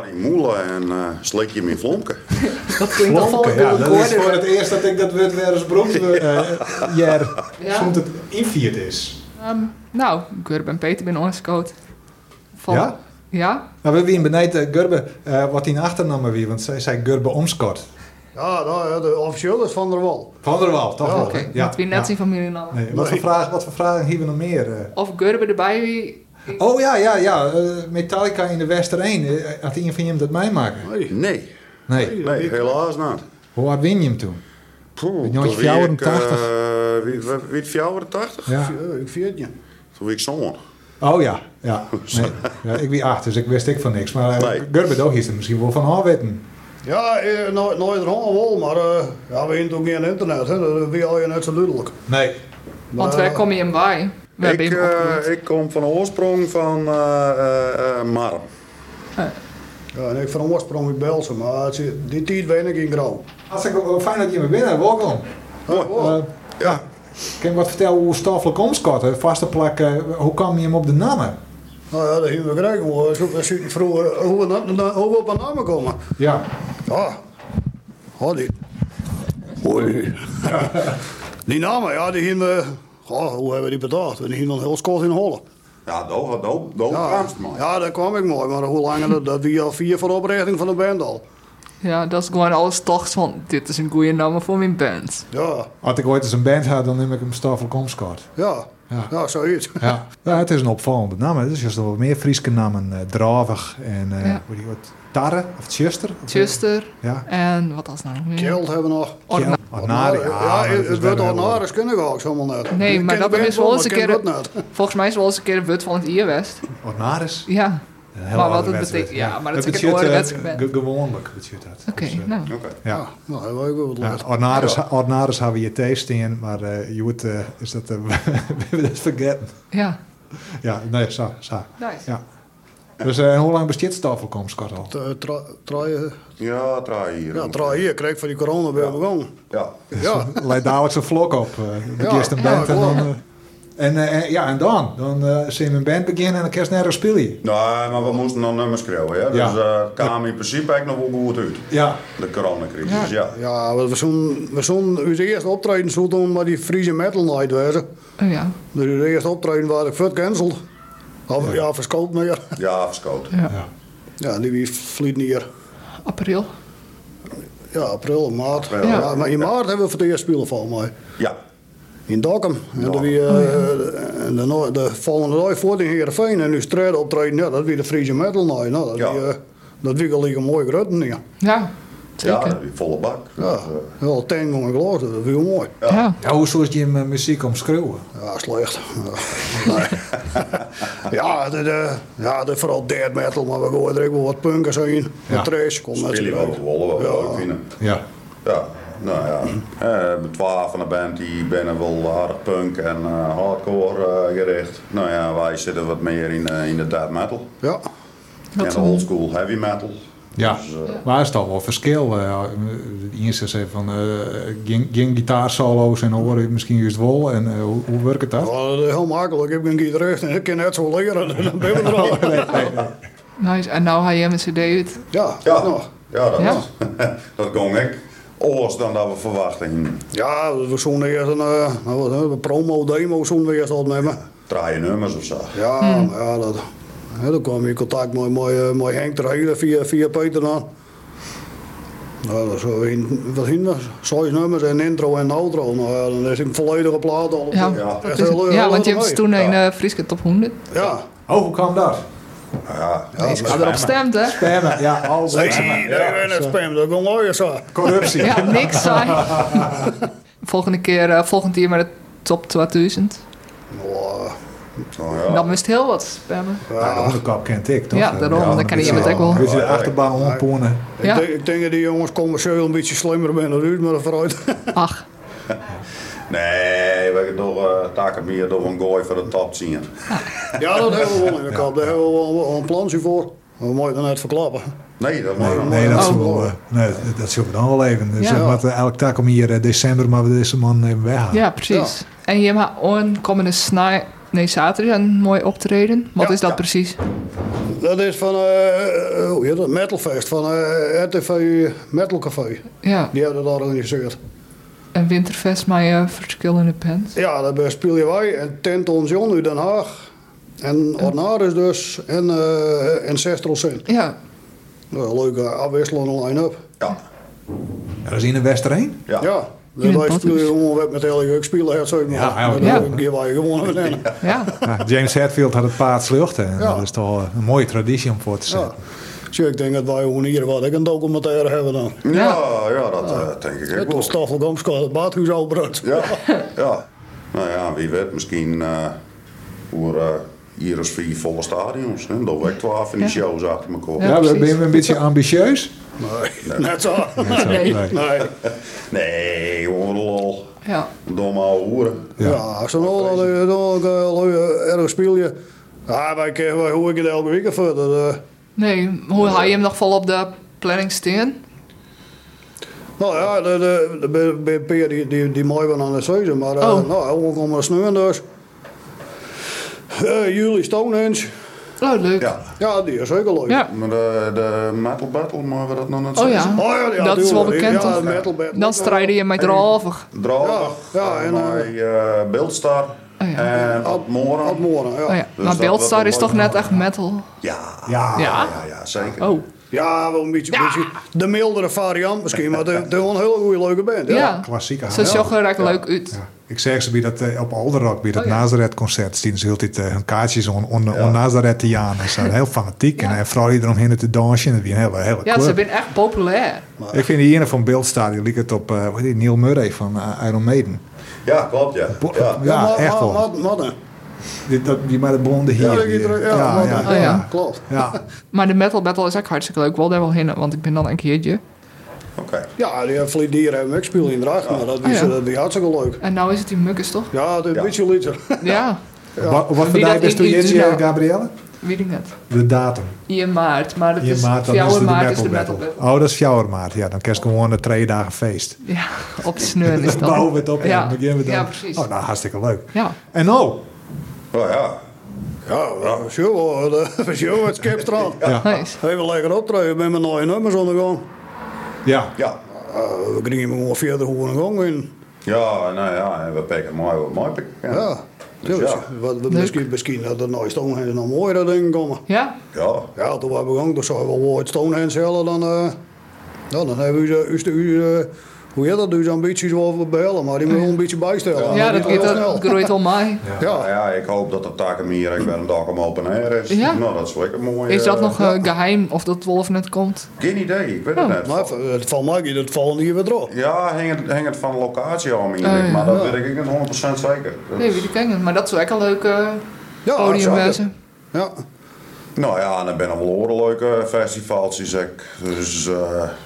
S5: Arie Moelen en eh, slik je hem in flonken.
S3: Dat klinkt
S2: Oké, ja, dat is voor het eerst dat ik dat woord weer eens bron eh jaar
S3: Ja.
S2: soms het invierd is.
S3: Nou, Gerben en Peter binnen ons coat.
S2: Ja?
S3: Ja?
S2: Maar we hebben beneden eh, Gurbe eh, wat die achternamen weer, want zij zei Gurbe Omskort.
S6: Ja, nou, ja, de officieel is Van der Wal.
S2: Van der Wal, toch?
S6: Ja,
S2: wel,
S3: Oh, Oké,
S2: hè?
S3: dat wie net zien van jullie namen.
S2: Oh, Nee, wat, voor vragen, wat voor vragen hebben we nog meer? eh?
S3: Of Gerben erbij wie...
S2: Oh ja, ja, ja. eh, Metallica in de Wester 1. eh, Had een van jullie dat mij maken?
S5: Nee,
S2: Nee.
S5: nee, helaas niet.
S2: Hoe hard win je hem toen?
S5: Poeh,
S2: Ben je ooit
S5: toen wie ik,
S2: 84?
S5: eh, wie- wie- wie het 84?
S2: Ja.
S6: Ja, ik vind het niet.
S5: Toen wie ik zoon.
S2: Oh ja, ja. Nee. ja ik wie acht, dus ik wist ik van niks. Maar
S5: Nee.
S2: uh, Gurbedo is er misschien wel van afweten.
S6: Ja, eh, nooit, nooit er allemaal wel, maar eh, ja, we hebben toen geen internet, hè. dat ben je net zo duidelijk.
S2: Nee.
S3: Want
S2: Nou,
S3: waar kom je hem bij? We
S5: Ik,
S3: hebben hem
S5: eh,
S3: opgegroeid.
S5: ik kom van oorsprong van eh, eh, eh, Marm.
S6: Ja, en ik van oorsprong uit Belsen, maar het is- die tijd ben ik in grauw. Oh,
S2: Hartstikke wel fijn dat je me binnen. Welkom.
S5: Mooi.
S2: Eh, ja. Kan je wat vertellen hoe stoffelijk omschot? hè? Vaste plak, eh, hoe kwam je hem op de namen?
S6: Nou ja, dat hebben we gekregen. hoor. Zo- We zitten vroeger eh, hoe we, na- na- hoe we op een naam komen.
S2: Ja.
S6: Ja, ja die. Oei. die namen, ja, die hebben we. Goh, hoe hebben we die bedacht? We hebben dan heel kort in Holland.
S5: Ja, dat dat- dat
S6: Ja,
S5: kwamst maar.
S6: ja, daar kwam ik mooi, maar hoe lang dat, dat wie al vier voor de oprichting van de band al.
S3: Ja, dat is gewoon alles toch van... Dit is een goede naam voor mijn band.
S6: Ja,
S2: Als ik ooit eens een band had, dan neem ik hem stoffelijk omschot.
S6: ja,
S2: Ja. Mm.
S6: ja, zoiets.
S2: Ja. ja, het is een opvallende naam. Het is juist wel meer Friese namen. eh dravig en eh
S3: Ja.
S2: hoe die wat, Tarre of Tjuster. of-
S3: Tjuster
S2: Ja,
S3: en wat was nou? meer?
S6: Kjeld hebben we nog.
S3: Orna-
S2: Ordinari.
S6: ja,
S2: Ah, maar dat
S6: het,
S2: is
S6: het wordt
S2: wel-
S6: ordinaris kunnen we ook zomaar net.
S3: Nee,
S6: Je
S3: maar
S6: kent
S3: dat
S6: de band
S3: is wel eens
S6: maar
S3: een
S6: kent
S3: keer-
S6: dat net.
S3: Volgens mij is wel eens een keer een wut van het Ierwest.
S2: Ordinaris?
S3: Ja.
S2: Een heel
S3: Maar wat
S2: oude
S3: het
S2: wedstrijd,
S3: betekent- ja, maar dat
S2: Het
S3: is een
S2: betekent,
S3: ouderwetse
S2: eh,
S3: band.
S2: ge- Gewoonlijk betekent dat.
S3: Oké,
S2: Dus, eh,
S3: nou.
S5: Oké.
S2: Ja.
S6: Nou, hebben we ook wel wat
S2: Ja, ah,
S6: last.
S2: ordinaris, ordinaris hebben we je thee staan, maar eh je moet, eh, is dat, eh, we hebben dat vergeten.
S3: Ja,
S2: Ja, nee, zo, zo.
S3: nice.
S2: Ja. Dus eh, hoe lang bestaat Stafelkomst, Karel?
S6: Eh, tra- Traaien,
S5: Ja, traai hier.
S6: ja, traaien hier kreeg van die corona weer begonnen.
S5: Ja.
S6: Ja,
S2: Leid Dus dadelijk zijn vlog op. eh
S6: Ja,
S2: eerst een
S6: ja,
S2: band en dan...
S6: klopt.
S2: eh, en, eh, en- ja, en dan? Dan eh zie je een band beginnen en dan kerst nergens speel je.
S5: Nee, maar we moesten nog nummers schreeuwen. Hè?
S2: Ja.
S5: Dus eh, het kwam in principe eigenlijk nog wel goed uit.
S2: Ja.
S5: De coronacrisis, ja.
S6: ja we zo'n we zo'n onze eerste optreden zo doen, maar die Friese Metal Night wezen.
S3: Oh ja.
S6: Dus de eerste optreden waar ik voor canceld. Of, ja, verskoopt meer.
S5: Ja, verschoten.
S6: Ja, die wie vliet neer.
S3: April.
S6: Ja, april, maart.
S5: April,
S6: Ja.
S5: ja.
S6: maar in maart hebben we voor het eerst spelen van mij.
S5: Ja.
S6: In Dokkum. En dan weer, eh, en de, no- de volgende dag voor in Heerenveen. En nu strijden optreden, ja, dat weer de Friese Metal Night. Nou, dat,
S5: Ja.
S6: wie, eh, dat wie gelijk een mooie grutten neer.
S3: Ja,
S5: Ja,
S3: zeker.
S5: die volle bak.
S6: Ja, heel tango en glas, dat viel mooi.
S3: Ja.
S2: Ja, hoe zou je hem eh, muziek omschreeuwen?
S6: Ja, slecht. Ja. Nee. ja, de, de, ja, de, vooral dead metal, maar we gooien er ook wel wat punkers in.
S2: Ja.
S6: Wat trash, komt
S5: Speel je wel
S6: natuurlijk.
S5: te wollen, wat we
S6: Ja.
S5: leuk vinden.
S2: Ja.
S5: Ja, nou ja. Eh, Met twaalf van de band die binnen wel aardig punk en eh, hardcore eh, gericht. Nou ja, wij zitten wat meer in, eh, in de death metal.
S6: Ja,
S3: Dat
S5: en de
S3: een-
S5: oldschool heavy metal.
S2: Ja, Dus, eh, maar er is toch wel verschil. eh, De eerste zei van, eh ging, ging gitaarsolo's en hoor je misschien juist wel. En eh, hoe, hoe werkt dat?
S6: Ja, dat is heel makkelijk. Ik heb een gitarist en ik kan net zo leren. Dan ben ik er al.
S3: Nice. En nou ga je hem een cd uit.
S6: Ja, nou.
S5: Ja,
S6: ja. nog.
S5: ja dat,
S3: Ja.
S5: dat ging ik. Oors dan dat we verwachten.
S6: Ja, we zonden eerst een, eh, nou, wat, hè, een promo-demo zonden we eerst opnemen.
S5: Draaien nummers of zo.
S6: Ja,
S3: Hmm.
S6: maar ja, dat, hè, dan kwam je in contact met, met, eh, met Henk Terhelen via, via Peter dan. Nou, dat zo in, wat heen was? Zes nummers en intro en outro. Nou ja, dan is het een volledige plaat al.
S3: Ja,
S5: Ja.
S3: dat
S6: Echt
S3: is- eh,
S6: heel leuk,
S3: ja
S6: heel
S3: want je
S6: leuk
S3: hebt
S6: mee.
S3: toen een eh Frieske top 100.
S6: Ja.
S2: Oh, hoe kwam dat?
S5: Ja,
S6: Ja,
S3: Ik had erop gestemd, hè?
S2: Spammen, ja, al
S6: Ik zie,
S2: spammen.
S6: daar ben ik spam, dat kon mooi zo.
S2: Corruptie.
S3: Ja, niks saai. Volgende keer, eh, volgend jaar maar de top 2000.
S6: Nou,
S5: Nou ja.
S3: En Dan wist heel wat spammen.
S2: Ja, de
S6: Ja,
S2: hondenkap kent ik, toch? eh,
S3: Ja, daarom.
S5: Ja,
S3: dan kan
S5: dat
S3: iemand
S5: is
S3: ook wel.
S5: wel-
S2: Weet je, de achterbaan omponen.
S6: ik,
S3: Ja.
S6: denk, ik denk dat die jongens commercieel een beetje slimmer zijn dan u, maar dat vooruit.
S3: Ach,
S5: Nee, we hebben toch eh, taken meer door een gooi voor de top zien.
S6: ja, dat hebben we wel in de kop. Daar hebben we wel wel een plan voor. We moeten het net verklappen.
S5: Nee, dat mag niet.
S2: Nee, dat
S3: Oh.
S2: zullen we, eh, nee, dat zullen we dan wel even. Dus
S3: Ja.
S2: eh, wat, eh, elk tak om hier eh, december, maar we deze man even weghalen.
S3: ja, precies. En hier maar on komende snij. Nee, zaterdag een mooi optreden. Wat
S6: Ja.
S3: is dat
S6: Ja.
S3: precies?
S6: Dat is van eh oh, ja, dat Metalfest, van eh RTV Metal Café.
S3: Ja,
S6: Die hebben dat georganiseerd.
S3: een winterfest met eh, verschillende bands.
S6: Ja, daarbij spelen wij en Tenton John uit Den Haag. En Ornaris dus en, eh en Sestral Sin.
S3: Ja,
S6: Nou, leuke afwisselende line-up.
S5: Ja,
S2: Dat is in de Westerheen.
S5: ja.
S6: Ja,
S3: In
S6: dus
S3: het
S6: wij
S3: bad
S6: spelen
S3: is-
S6: gewoon wat met heel leuk spelen. Het, zeg maar.
S2: Ja, eigenlijk
S3: wel.
S6: Dan geven wij gewoon een rennen.
S3: ja.
S2: Ja, James Hetfield had het paard sluchten. En
S6: Ja.
S2: Dat is toch eh, een mooie traditie om voor te zetten.
S6: Ja. Zie, ik denk dat wij gewoon hier wat ik een documentaire hebben dan.
S5: Ja, ja, dat eh, denk ik
S6: Het
S5: ook wel.
S6: was Staffel Gamska, het baathuis Albrood.
S5: Ja, ja. Nou ja, wie weet, misschien eh voor eh, hier is vier volle stadions. Hè? Dat werkt wel af in die
S3: Ja.
S5: shows achter elkaar.
S3: Ja,
S2: Ja, we-
S3: precies.
S2: ben je een beetje ambitieus?
S6: Nee, net zo.
S3: Nee.
S6: Nee.
S5: Nee, gewoon lol.
S3: ja.
S5: Domme ouwe hoeren.
S2: Ja.
S6: Ja, als eh, er nog dat je nog erg speel Ja, wij kennen wij hoe ik het elke week verder. eh.
S3: Nee, hoe haal je hem nog vol op de planning staan?
S6: Nou ja, de, de, de, de- de Peer die, die, die mooi wel aan de seizoen, maar eh
S3: Oh.
S6: nou, we komen sneuwen dus. Eh Julie Stonehenge,
S3: Oh, leuk.
S5: Ja,
S6: ja, die is zeker leuk.
S3: Ja.
S5: maar de, de metal battle, mogen we dat nog net
S3: Oh
S5: zeggen?
S3: ja.
S6: Oh, ja, ja,
S3: dat is wel
S6: tuurlijk.
S3: bekend,
S6: Ja,
S3: toch?
S6: metal battle.
S3: Dan strijden je met Rolvig.
S5: Draag,
S6: Ja,
S5: ja,
S6: ja, en,
S5: en Beeldstar
S3: Oh ja.
S5: eh, en Ad Moren.
S6: Ad Moren, ja.
S3: Oh ja,
S5: Dus
S3: maar
S5: dat
S3: Beeldstar
S5: wordt
S3: is toch
S5: wel
S3: net echt metal?
S5: Ja,
S2: Ja.
S3: Ja?
S5: ja, ja, zeker.
S3: Oh,
S6: Ja, wel een beetje, beetje de mildere variant misschien, maar de, de een hele goede leuke band.
S3: ja.
S6: Ja.
S2: klassieke
S3: Ze
S2: haal.
S3: zag er echt leuk uit.
S2: Ja. Ik zeg ze bij dat, eh, op Alderrock, bij dat
S3: Oh, ja.
S2: Nazareth-concert, zien ze heel dit, eh, hun kaartjes on, on, on Nazareth-Tiaan. Ze zijn heel fanatiek en eh, vooral iedereen omheen te dansen. Dat is een hele, hele
S3: Ja,
S2: club.
S3: ze zijn echt populair.
S2: Ik vind die ene van Beeldstadion liep het op eh, hoe heet die, Neil Murray van eh, Iron Maiden.
S5: Ja, klopt, ja.
S2: Bo-
S5: ja.
S2: ja, echt wel.
S6: Madden.
S2: Die, dat, die met de blonde hier.
S6: Ja, die terug- ja, Madden.
S3: ja.
S6: ja, klopt.
S2: Oh, Ja.
S3: Maar de metal battle is echt hartstikke leuk. Wel daar wel heen, want ik ben dan een keertje.
S5: Oké.
S6: Ja, die eh, Fleet Dier hebben ook spelen in Draag, maar dat
S3: Ah,
S6: is
S3: ja.
S6: eh, die hartstikke leuk.
S3: En nou is het die mukkers toch?
S6: Ja, het is een
S5: Ja.
S6: beetje liter.
S3: Ja,
S2: Wat, wat voor
S3: Wie dat
S2: dag is
S3: in
S2: toen
S3: iets
S2: Jitje,
S3: nou-
S2: Gabrielle?
S3: weet ik net.
S2: De datum.
S3: In maart, maar het
S2: Je
S3: is
S2: maart, dat is de,
S3: 4 maart Dus is
S2: metal
S3: de
S2: battle.
S3: metal battle.
S2: Oh, dat is 4 maart. Ja, dan kerst gewoon de twee dagen feest.
S3: Ja, op sneuren is
S2: Dan
S3: dat.
S2: bouwen we het op en
S3: Ja.
S2: dan beginnen we dan.
S3: Ja, precies.
S2: Oh, nou, hartstikke leuk.
S3: Ja,
S2: En nou?
S5: Oh ja.
S6: Ja, ja, sure, hoor. Dat is sure, het Skipstrand.
S2: Ja.
S3: nice.
S6: Even lekker optreden met mijn nieuwe nummers ondergaan.
S2: Ja.
S5: Ja.
S6: Eh we gingen gewoon verder gewoon een gang in.
S5: Ja, nou ja, en we pikken mooi wat mooi pikken.
S6: Ja.
S5: Dus
S6: Dus,
S5: ja.
S6: wat, wat misschien, misschien dat er nou Stonehenge nog mooier dingen komen.
S3: Ja,
S5: Ja.
S6: Ja, toen we begonnen, toen zouden we wel ooit Stonehenge halen. Dan, eh, ja, dan hebben we onze- onze- onze- eh, hoe heet dat, onze ambities wel behellen. Maar die moeten we een beetje bijstellen.
S3: ja dat
S6: heel
S3: gaat dat
S6: snel.
S3: groeit al mij.
S5: Nou
S6: Ja.
S5: ja, ik hoop dat de Takemier ik wel een dag om open air is.
S3: Ja.
S5: Nou, dat is lekker mooi.
S3: Is dat
S5: eh,
S3: nog eh, geheim of dat Wolf net komt?
S5: Geen idee, ik weet
S3: Oh.
S5: het
S6: Maar
S5: net.
S6: even, het valt mij niet, het valt hier weer erop.
S5: Ja, hing het, hing het van de locatie aan, meen
S3: Oh,
S5: ik,
S3: ja.
S5: maar dat weet ik niet 100% zeker. Dus, Dat-
S3: Nee, weet ik niet. Maar dat zou ook een leuke eh,
S6: Ja,
S3: podium
S6: zeker.
S3: wezen.
S6: Ja,
S5: Nou ja, en dan ben er wel horen leuke festivals, zeg ik. Dus eh,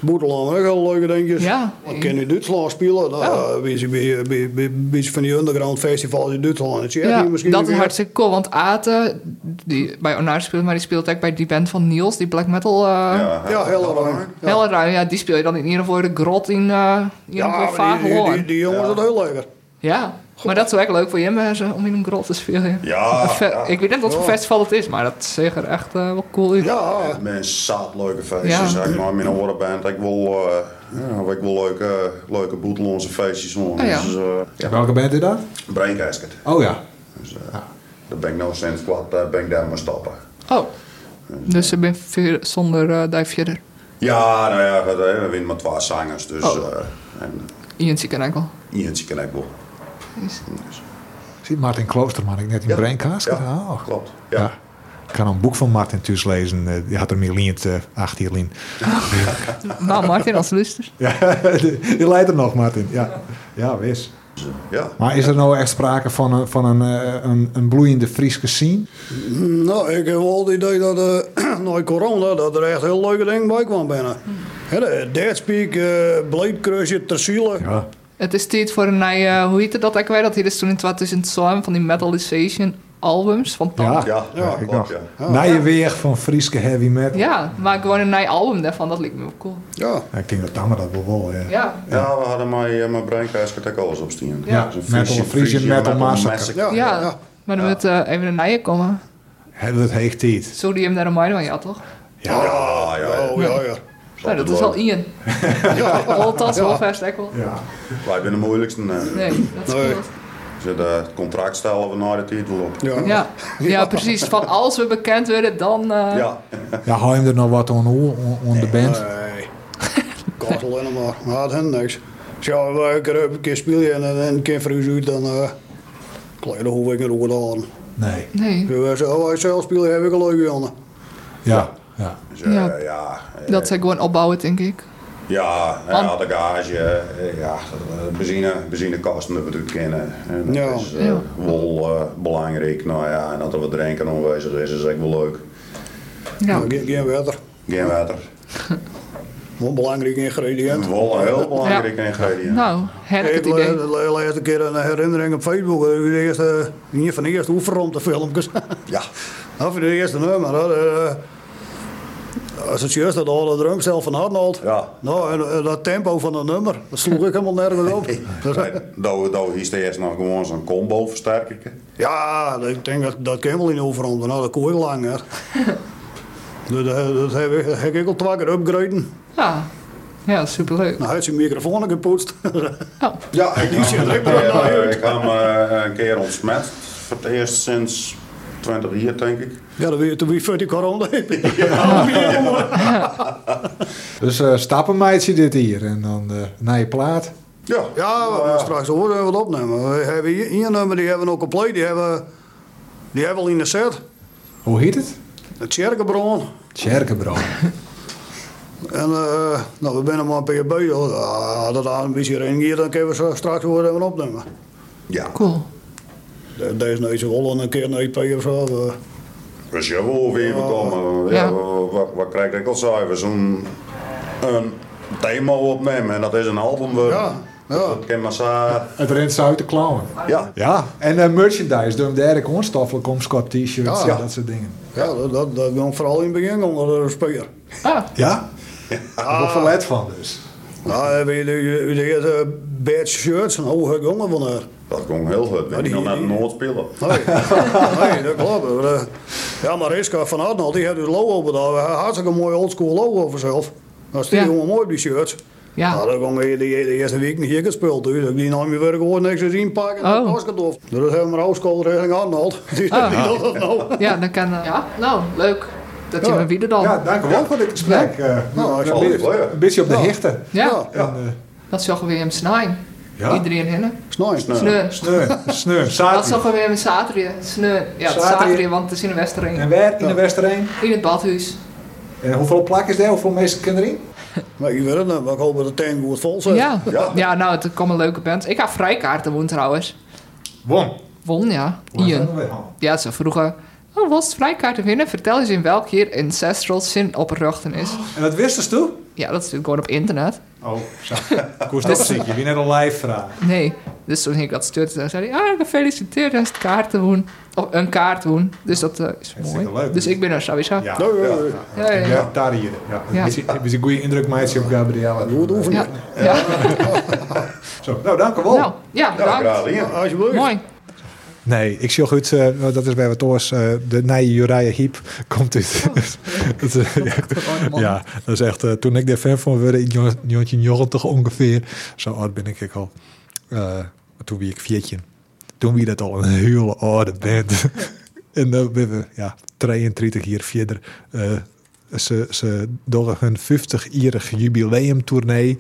S6: Boeteland ook heel leuke dingetjes.
S3: Ja.
S6: Ik ken in Duitsland spelen. Nou,
S3: Ja.
S6: eh, weet je, bij- bij- bij- bij van die underground festivals in Duitsland. Dat zie je
S3: Ja,
S6: hier misschien
S3: dat
S6: weer.
S3: is hartstikke cool. Want Ate, die bij Onaar speelt, maar die speelt ook bij die band van Niels, die black metal. eh
S5: ja,
S6: Ja, heel
S5: Hellerang.
S6: erg. Ja,
S3: Hellerui, ja, die speel je dan in ieder geval de grot in, eh in ieder geval
S6: maar die, die, die,
S3: Vageloorn.
S6: die jongens dat heel lekker.
S3: Ja, maar dat zou ook leuk voor je mensen om in een grot te spelen.
S5: Ja,
S3: Een fe-
S5: ja.
S3: Ik weet niet wat voor
S6: Ja.
S3: festival het is, maar dat zegt er echt eh, wel cool uit.
S6: Ja,
S5: Met zat leuke
S3: Ja.
S5: feestjes, zeg ik maar. Met een horenband. Ik wil, eh ja, ik wil leuke, leuke boetelonse feestjes doen.
S3: Oh, ja.
S5: Dus, eh
S2: Welke bent u dat?
S5: Braincasket.
S2: Oh ja.
S5: Dus, eh
S3: Ah.
S5: Daar ben ik nou sinds kwart, daar ben ik daar maar stappen.
S3: Oh, dus ze ben ver- zonder eh duifje
S5: Ja, nou ja, goed, hè, we winnen maar twee zangers. Dus
S3: Oh.
S5: eh en eh,
S3: Ian Ziekenenkel.
S5: eentje kan ik wel.
S2: Zie Martin Kloosterman, ik net in
S5: Ja.
S2: Braincast.
S5: Ja,
S2: Oh.
S5: klopt. Ja.
S2: Ja. Ik kan een boek van Martin thuis lezen. eh, Die had er meer lien, eh, acht hier lien.
S3: Nou, Martin, als luister.
S2: Ja, die leidt er nog, Martin. Ja, ja wis.
S5: Dus, eh, ja.
S2: Maar is er nou echt sprake van een, van een, eh, een, een bloeiende Frieske scene?
S6: Nou, ik heb wel het idee dat eh na corona dat er echt heel leuke dingen bij kwam binnen. Hè, de Deadspeak, uh, Bleedcruisje, Tersiele.
S2: Ja.
S3: Het is tijd voor een nieuwe, hoe heette dat ook weer? Dat hier is toen in 2007 van die Metalization albums van Pan.
S2: Ja,
S3: Ja.
S5: Ja, ja,
S2: ik
S5: klopt,
S2: nog.
S5: ja.
S2: Naar je weeg van Frieske heavy metal.
S3: maar gewoon een nieuw album daarvan, dat leek me wel cool.
S6: Ja.
S2: Ja, Ik denk dat Tammer dat wel wel, ja.
S3: Ja,
S5: Ja, we hadden mijn, eh, mijn breinkaas ook alles op staan.
S3: Ja.
S5: Dus een
S2: Metal,
S5: Friese-
S2: Friese
S5: Friese
S2: metal massacre.
S6: Ja,
S3: ja.
S6: ja.
S3: Maar dan moet eh, even een nieuwe komen.
S2: Hè, Dat heegt dit.
S3: Zo die hem daar een mij van ja toch?
S5: Ja, ja, ja.
S6: Oh, ja, ja.
S3: Nou, dat is al Ian. Ja, dat is wel vast ook wel.
S2: Ja.
S5: Wij zijn de moeilijkste. eh.
S3: Nee, dat is
S6: Nee.
S3: goed.
S5: Dus het contract stellen we naar de titel op.
S6: ja.
S3: Ja. ja, precies. Van als we bekend werden, dan... eh,
S5: Ja,
S2: Ja, hou hem er nog wat aan hoe, on, on de band?
S6: Nee. eh, Kost alleen maar. Maar het hen niks. Dus ja, we kunnen een keer spelen en, en een keer fris uit, dan... eh kleine hoef ik er ook aan.
S2: Nee.
S3: Nee,
S6: Dus wij zeggen, wij zelf spelen, heb ik een leuke jongen.
S2: Ja. ja.
S5: dus, eh,
S3: Ja.
S5: ja. ja. eh,
S3: dat ze gewoon opbouwen, denk ik.
S5: Ja,
S3: Want-
S5: ja, de garage, eh, ja, eh, benzine, benzinekosten dat we natuurlijk kennen. En dat
S6: Ja.
S5: is eh,
S3: Ja.
S5: wel eh, belangrijk. Nou ja, en dat er wat drinken aanwezig is, is echt wel leuk.
S3: Ja.
S6: Maar Nou, Geen, geen wetter.
S5: Geen water.
S6: Wel een belangrijk ingrediënt.
S5: Wel een heel belangrijk ingrediënt.
S3: Nou, herk het
S6: Ik
S3: idee.
S6: laatste keer een herinnering op Facebook. eh, De eerste, een van de eerste oefenromte filmpjes.
S5: Ja,
S6: of de eerste nummer. Hoor. eh, Als het juist dat alle drum zelf van Arnold.
S5: Ja.
S6: Nou, en eh, dat tempo van dat nummer, dat sloeg ik helemaal nergens op. Dus, eh,
S5: dat dat is eerst nog gewoon zo'n combo versterker.
S6: ja, ik denk dat dat kan wel in de oefenromte. Nou, dat kooi lang. Hè. Dus, eh, dat heb ik, heb ik al twee keer upgraden.
S3: Ja. ja, superleuk.
S6: Nou, hij heeft zijn microfoon gepoetst.
S3: Oh,
S5: Ja, ik,
S6: Die zit er ook
S5: ik,
S6: nog
S5: eh,
S6: uit.
S5: ik heb hem eh, een keer ontsmet. Voor het eerst sinds 20 jaar, denk ik.
S6: ja, dan weer, toen weer voor die corona.
S2: Dus eh stappenmeidje dit hier. En dan eh naar je plaat.
S5: Ja,
S6: Ja, we
S5: Nou
S6: gaan straks horen we wat opnemen. We hebben hier, hier een nummer, die hebben we ook compleet. Die hebben, die hebben we al in de set.
S2: Hoe heet het?
S6: Het Sjerkenbron.
S2: Tjerkenbro.
S6: En eh, nou, we zijn maar een beetje bij. Ah, dat aan een beetje reageert, dan kunnen we zo straks horen even opnemen.
S5: ja.
S3: cool.
S6: De- Deze neus rollen een keer naar EP of zo. eh.
S5: Dus ja, wel weer komen.
S3: Ja.
S5: Ja, wat, wat krijg ik al zei? We zo'n een demo opnemen en dat is een album. worden.
S6: Ja, ja.
S5: Dat kan maar zijn.
S2: Het rent ze uit de klauwen.
S5: Ja.
S2: Ja. En eh, merchandise. Door hem derk onstoffelijk om Scott t-shirts
S6: Ja.
S2: en dat soort dingen.
S6: Ja, dat, dat, dat ging vooral in het begin onder de speer.
S3: Ah,
S2: Ja? Daar word ik verlet van dus.
S6: Nou, we hebben de, de, de eerste eh, badge shirts, een hoge jongen van haar.
S5: Dat ging heel goed. We
S6: die-
S5: gaan naar Noord spelen.
S6: Nee, nee, dat klopt. Maar, eh, Ja, maar Riska van Arnold, die heeft dus logo bedacht. Hij had hartstikke een mooi oldschool logo voor zichzelf. Dat is die
S3: Ja.
S6: jongen mooi op die shirt.
S3: Ja.
S6: Nou, dat ging de, de, de eerste week niet hier gespeeld. Dus ik die nam je weer gewoon niks eens inpakken. En
S3: Oh.
S6: oh. Dus dat hebben we een oldschool richting Arnold. Die,
S3: Ah.
S6: die doet dat nou.
S3: ja, dan kan... eh, ja, nou, leuk. Dat je me weer dan. Oh,
S2: Ja,
S3: Ja,
S2: dankjewel voor dit gesprek. Eh,
S6: Nou,
S2: een
S6: ik zal
S2: beetje-
S5: het leuk.
S2: een beetje op de hichte. En, eh,
S3: dat zag weer hem snijden.
S2: Ja.
S3: Iedereen hinnen.
S6: Snij.
S2: eh,
S3: Sneur.
S2: Sneu, sneu,
S3: Dat
S2: zaterdag.
S3: zag weer hem zaterdag. Sneur. Ja,
S2: Zaterdag.
S3: zaterdag, want het is in de Westerring.
S2: En waar in de Westerheen?
S3: In het badhuis.
S2: En hoeveel plak is daar? Hoeveel mensen kunnen erin?
S6: Maar ik weet het niet, maar ik hoop dat de tank goed vol zit.
S3: Ja.
S5: Ja.
S3: ja, nou, het komen leuke bands. Ik ga vrijkaarten woon trouwens.
S2: Won.
S3: Won, ja. Ian. Ja, ze vroegen... Oh, was het vrijkaarten winnen? Vertel eens in welk jaar Ancestral Sin opgerochten is.
S2: En dat wisten ze toen?
S3: Ja, dat is natuurlijk gewoon op internet.
S2: Oh, zo. Koest dat ziek. Je wie net al live vraag.
S3: Nee. Dus toen ik dat stuurde, toen zei hij... Ah, gefeliciteerd, dat is het kaartenwoen. Of een kaartwoen. Dus dat eh, is mooi.
S2: zeker leuk.
S3: Dus ik ben er sowieso.
S2: Ja.
S6: Nou, ja, ja.
S3: Ja, ja, ja.
S2: Ja, daar hier. Ja.
S3: Ja.
S2: Een beetje- Een beetje goede indruk maakt op Gabrielle.
S6: Goed oefenen.
S3: Ja. Ja.
S2: Zo, nou dank u wel.
S3: Nou, ja,
S5: Ja, graag
S3: bedankt.
S5: hier.
S6: Alsjeblieft.
S3: Mooi.
S2: Nee, ik zie goed, eh, dat is bij wat oors, eh, de nije Uriah Heep komt uit. dat, eh, ja, ja, dat is echt, eh, toen ik daar fan van werd, in 1990 ongeveer, zo oud ben ik ook al. Eh, toen wie ik viertje. Toen wie dat al een hele oude band. en dan ben we, ja, 32 jaar verder. eh, ze, ze doen hun 50-jarig jubileumtournee.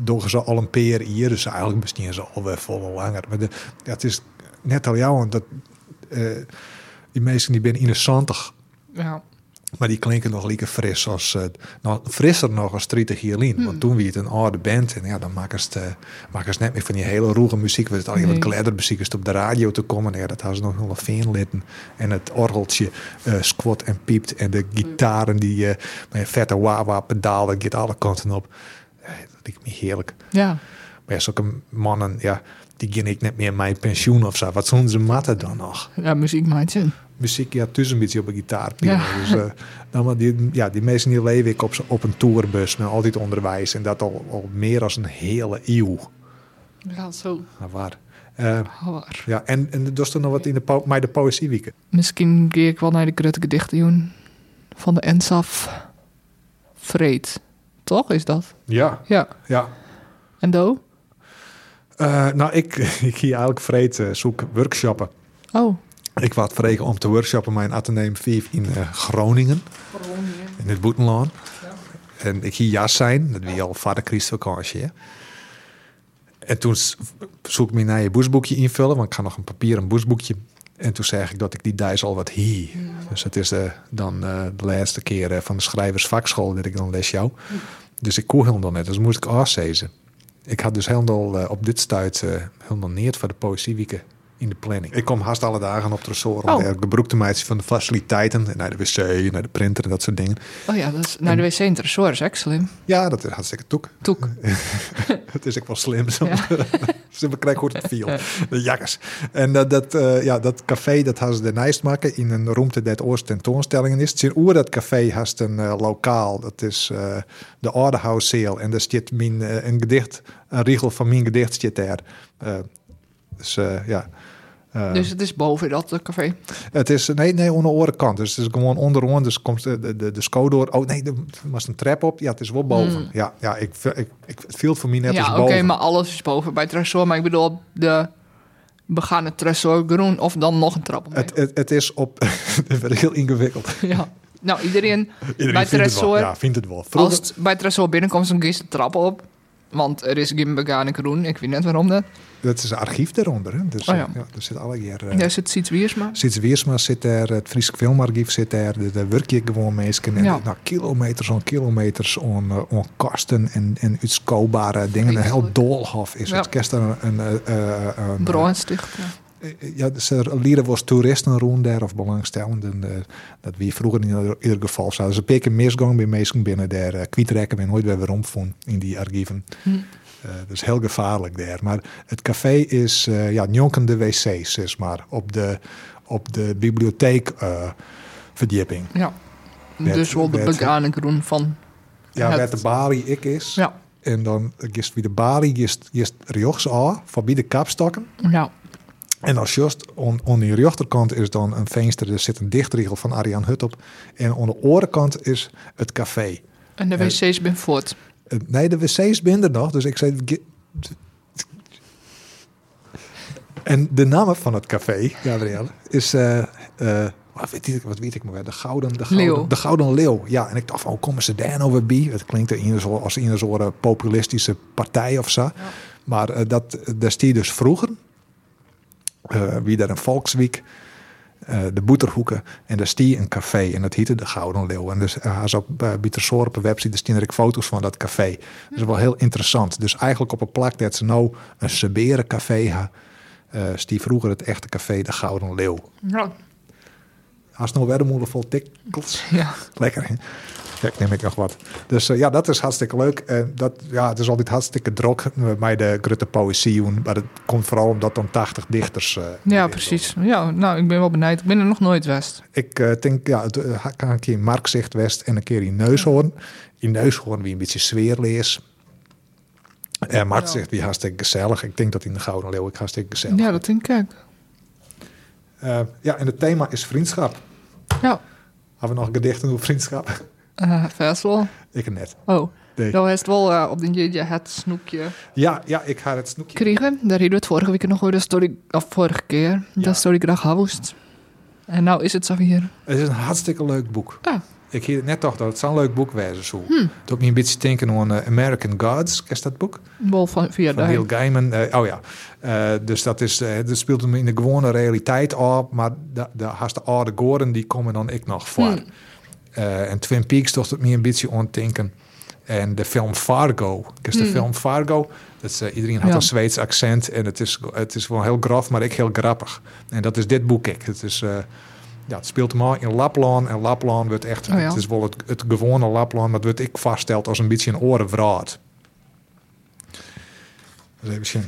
S2: Doen ze al een paar jaar, dus eigenlijk misschien ze alweer volle langer. Maar de, ja, het is net al jou, want dat, eh, die mensen die ben in de 70.
S3: Ja.
S2: Maar die klinken nog lekker fris als eh, nog, frisser nog als 30 jaar geleden. Want toen wie het een oude band en ja, dan maken ze, het, eh, maken ze net meer van die hele roege muziek. Waar het alleen wat
S3: Nee.
S2: gladdermuziek is het op de radio te komen. Ja, dat hadden ze nog wel fijn litten. En het orgeltje eh, squat en piept en de gitaren die eh met een vette wah pedaal dat gaat alle kanten op. Eh, dat lijkt me heerlijk.
S3: Ja.
S2: Maar ja, zulke mannen, ja, die gaan ik net meer mijn pensioen of zo. Wat zullen ze matten dan nog?
S3: Ja, muziek maakt zin.
S2: muziek ja tussen een beetje op een gitaar piano.
S3: Ja.
S2: Dus eh, nou, maar die, ja, die mensen die leven ik op, z'n- op een tourbus met al dit onderwijs en dat al, al meer dan een hele eeuw.
S3: Ja, zo.
S2: Nou, waar. Eh,
S3: Waar.
S2: ja, en, en er is er nog wat in de, po maar de poëziewieken.
S3: Misschien ga ik wel naar de grote gedichten doen. Van de Ensaf. Vreed. Toch is dat?
S2: Ja,
S3: Ja.
S2: ja.
S3: En Do?
S2: Eh, nou, ik, ik hier eigenlijk vreed eh, zoek workshoppen.
S3: Oh.
S2: Ik was vregen om te workshoppen mijn Atheneum 5 in eh, Groningen, in het Boetenlaan. En ik hier jas zijn, dat wie al vader Christvakantie. hè. En toen s- zoek ik mijn naar je boesboekje invullen, want ik ga nog een papieren boesboekje. En toen zei ik dat ik die dijs al wat hier. Dus dat is eh, dan eh, de laatste keer eh, van de schrijversvakschool dat ik dan les jou. Dus ik kon helemaal net, dus moest ik afzezen. Ik had dus helemaal eh, op dit stuit eh, helemaal neer voor de poëziewieken in de planning. Ik kom haast alle dagen op Tresor.
S3: Oh.
S2: Oh. Ik gebroekte mij van de faciliteiten. Naar de wc, naar de printer en dat soort dingen.
S3: Oh ja, dat is naar de wc in Tresor is echt slim.
S2: Ja, dat is hartstikke toek.
S3: Toek.
S2: Het is ook wel slim. Zo.
S3: Ja.
S2: ze bekijken hoe het viel. De jakkers. En dat, dat, eh, ja, dat café, dat hadden ze daarnaast maken in een ruimte dat oost tentoonstellingen is. Zijn oer dat café haast een eh, lokaal. Dat is eh, de Ordehouse Sale. En daar zit mijn, eh, een gedicht, een riegel van mijn gedicht zit daar. Eh, dus eh, ja. Eh,
S3: Dus het is boven dat eh, café.
S2: het is, nee, nee, aan de andere kant. Dus het is gewoon onderaan. Dus komt de, de, de, de sco door. Oh nee, er was een trap op. Ja, het is wel boven. Ja, ja ik, ik, ik, het viel voor mij net als
S3: Hmm. ja, oké,
S2: boven.
S3: maar alles is boven bij Tresor. Maar ik bedoel, de begane Tresor groen of dan nog een trap omheen.
S2: Het, het, het is op. het werd heel ingewikkeld.
S3: Ja. Nou, iedereen, bij
S2: Iedereen vindt het wel.
S3: Tresor,
S2: Ja, vindt het wel.
S3: als
S2: Vroeger,
S3: het bij Tresor binnenkomt, dan kies de trap op. Want er is geen begane groen. Ik weet net waarom dat.
S2: dat is een archief daaronder. Hè? Dus,
S3: Oh
S2: eh,
S3: ja. Dus-
S2: ja. er zit alle keer. eh,
S3: Daar zit Siets Wiersma.
S2: Sits Wiersma zit daar, het Friese Filmarchief zit daar, de- daar werk je gewoon mensen. En
S3: Ja.
S2: nou, kilometers en kilometers aan, eh, aan kasten en, en uitskoopbare dingen. Een heel
S3: Vreselijk.
S2: doolhof is
S3: Ja.
S2: het. Kerst een, een, eh, eh, een,
S3: Brandsticht. Ja.
S2: Eh, Ja, dus er lieren was toeristen rond daar of belangstellenden. eh, dat wie vroeger in ieder- ieder geval zouden. Ze peken misgang bij mensen binnen daar. eh, kwietrekken ben nooit weer weer omgevonden in die archieven. Eh, dat is heel gevaarlijk daar. Maar het café is eh ja, jonkende wc's, zeg maar. Op de, op de eh, bibliotheekverdieping.
S3: ja.
S2: Met-
S3: dus wel de
S2: met-
S3: begane groen van.
S2: ja,
S3: het-
S2: waar de balie ik is.
S3: Ja.
S2: En dan eh, gist wie de balie, gist, gist rechts aan, voorbij de kapstokken.
S3: Nou,
S2: En als just on, on die rechterkant is dan een venster, er zit een dichtriegel van Arjan Hut op. En aan de andere kant is het café.
S3: en de
S2: Ja.
S3: wc's ben voort.
S2: Eh, Nee, de wc's binnen nog, dus ik zei... ge- En de naam van het café, Gabrielle, is... eh, eh, wat, weet ik, wat weet ik maar, weer, de Gouden, de gouden,
S3: Leeuw.
S2: de gouden Leeuw. Ja, en ik dacht van, hoe komen ze daar nou weer bij? Het klinkt er in een soort- als in een soort eh, populistische partij of zo. Maar eh, dat, daar stier dus vroeger, eh, wie daar een Volkswiek, eh, de Boeterhoeken. En daar stie een café en dat heette de Gouden Leeuw. En dus eh, als op uh, Bietersoor op een website dus daar staan er ook foto's van dat café. Dat is wel heel interessant. Dus eigenlijk op een plak dat ze nou een Seberen café ha, eh stie vroeger het echte café de Gouden Leeuw.
S3: Ja.
S2: Als nou wermoeder vol tikkels.
S3: ja.
S2: Lekker. hè? Ja, ik neem ik nog wat. Dus eh, ja, dat is hartstikke leuk. En dat, ja, het is altijd hartstikke drok met mij de grote poëzie. Maar dat komt vooral omdat dan 80 dichters. eh,
S3: Ja,
S2: meedoen.
S3: precies. Ja, nou, ik ben wel benijd. Ik ben er nog nooit west.
S2: Ik eh, denk, ja, het eh, kan een keer in Markzicht West en een keer in Neushoorn. In Neushoorn wie een beetje sfeerlees. En Markzicht wie hartstikke gezellig. Ik denk dat in de Gouden Leeuw ik hartstikke gezellig.
S3: Ja, dat denk ik.
S2: Eh, ja, en het thema is vriendschap.
S3: Ja,
S2: Hebben we nog gedichten over vriendschap?
S3: Eh vast wel.
S2: ik net.
S3: Oh,
S2: Nee.
S3: dan is het wel eh, op de jeetje het snoekje
S2: Ja, ja, ik ga het snoekje.
S3: kregen. Daar hadden we het vorige week nog over. Dat story, of vorige keer. Dat story graag gewoest. En nou is het zo hier.
S2: Het is een hartstikke leuk boek.
S3: Ah.
S2: Ik hier net dacht dat het zo'n leuk boek was. Zo. Toen ik me een beetje denken aan eh, American Gods. Kent dat boek?
S3: Bol van via
S2: Van
S3: daar.
S2: Neil Gaiman. eh, oh ja. Eh, dus dat, is, eh, dat speelt hem in
S3: Hmm.
S2: de gewone realiteit op. Maar de, de, haast de oude goren die komen dan ik nog voor. Eh, en Twin Peaks toch me een beetje ontinken. En de film Fargo. Dus de film Fargo. Dat is, eh, iedereen had
S3: Hmm. Ja.
S2: een Zweeds accent. En het is, het is wel heel grof, maar ik heel grappig. En dat is dit boek ik. Het, is, eh, ja, het speelt maar in Lapland. En Lapland wordt echt...
S3: Oh ja.
S2: Het is wel het, het gewone Lapland. Maar het wordt ik vaststeld als een beetje een orenvraat. Dus even zien.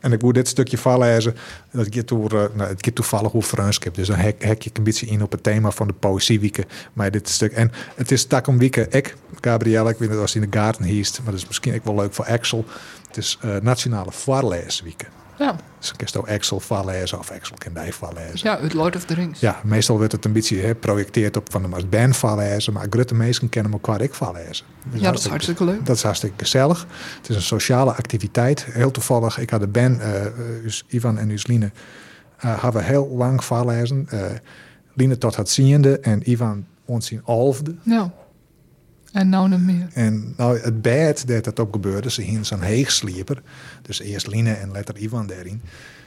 S2: En ik moet dit stukje voorlezen. Dat gaat door, eh, nou, het gaat toevallig over Franskip. Dus dan hek, hek ik een beetje in op het thema van de poëziewieken. Maar dit stuk. En het is tak om wieken. Ik, Gabrielle, ik weet niet als hij in de gaten hiest. Maar dat is misschien ook wel leuk voor Axel. Het is eh, Nationale Voorleeswieken.
S3: Ja,
S2: Dus dan kun je ook Axel voorlezen of Axel kan die voorlezen.
S3: ja uit Lord of the Rings.
S2: Ja, meestal wordt het een beetje hè, projecteerd op van de als band voorlezen. Maar Grutte mensen kennen hem ook qua ik voorlezen.
S3: Ja, dat is hartstikke leuk.
S2: Dat is hartstikke gezellig. Het is een sociale activiteit. Heel toevallig, ik had de Ben, Ivan en Usline, eh hadden heel lang voorlezen. Eh Line tot het ziende en Ivan ontzien alfde.
S3: Ja. En nou niet meer.
S2: En nou, het bed dat dat op gebeurde, ze hingen zo'n heegslieper. Dus eerst Line en later Ivan daarin.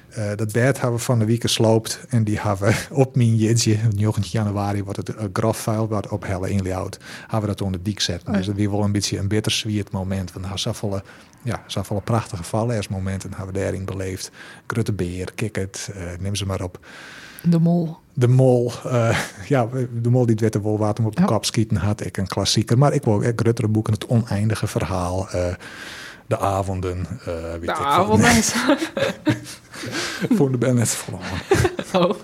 S2: Eh, dat bed hebben we van de week gesloopt. En die hebben we op mijn jitje, 9 januari, wordt het eh, grof vuil wat op helle inloopt. Hebben we dat onder diek zetten. Dus dat weer wel een beetje een bittersweet moment. Want er zijn volle, ja, zijn volle prachtige vallersmomenten hebben we daarin beleefd. Krutte beer, kikkert, eh, neem ze maar op.
S3: De mol.
S2: De Mol, eh, ja, de Mol die het witte wolwater op de
S3: Ja.
S2: kap schieten had. Ik een klassieker, maar ik wil ook echt Ruttere boeken. Het oneindige verhaal, eh, de avonden. eh weet ik
S3: Nou,
S2: veel.
S3: avond
S2: Nee,
S3: is.
S2: voor de ben net verloren.
S3: Oh.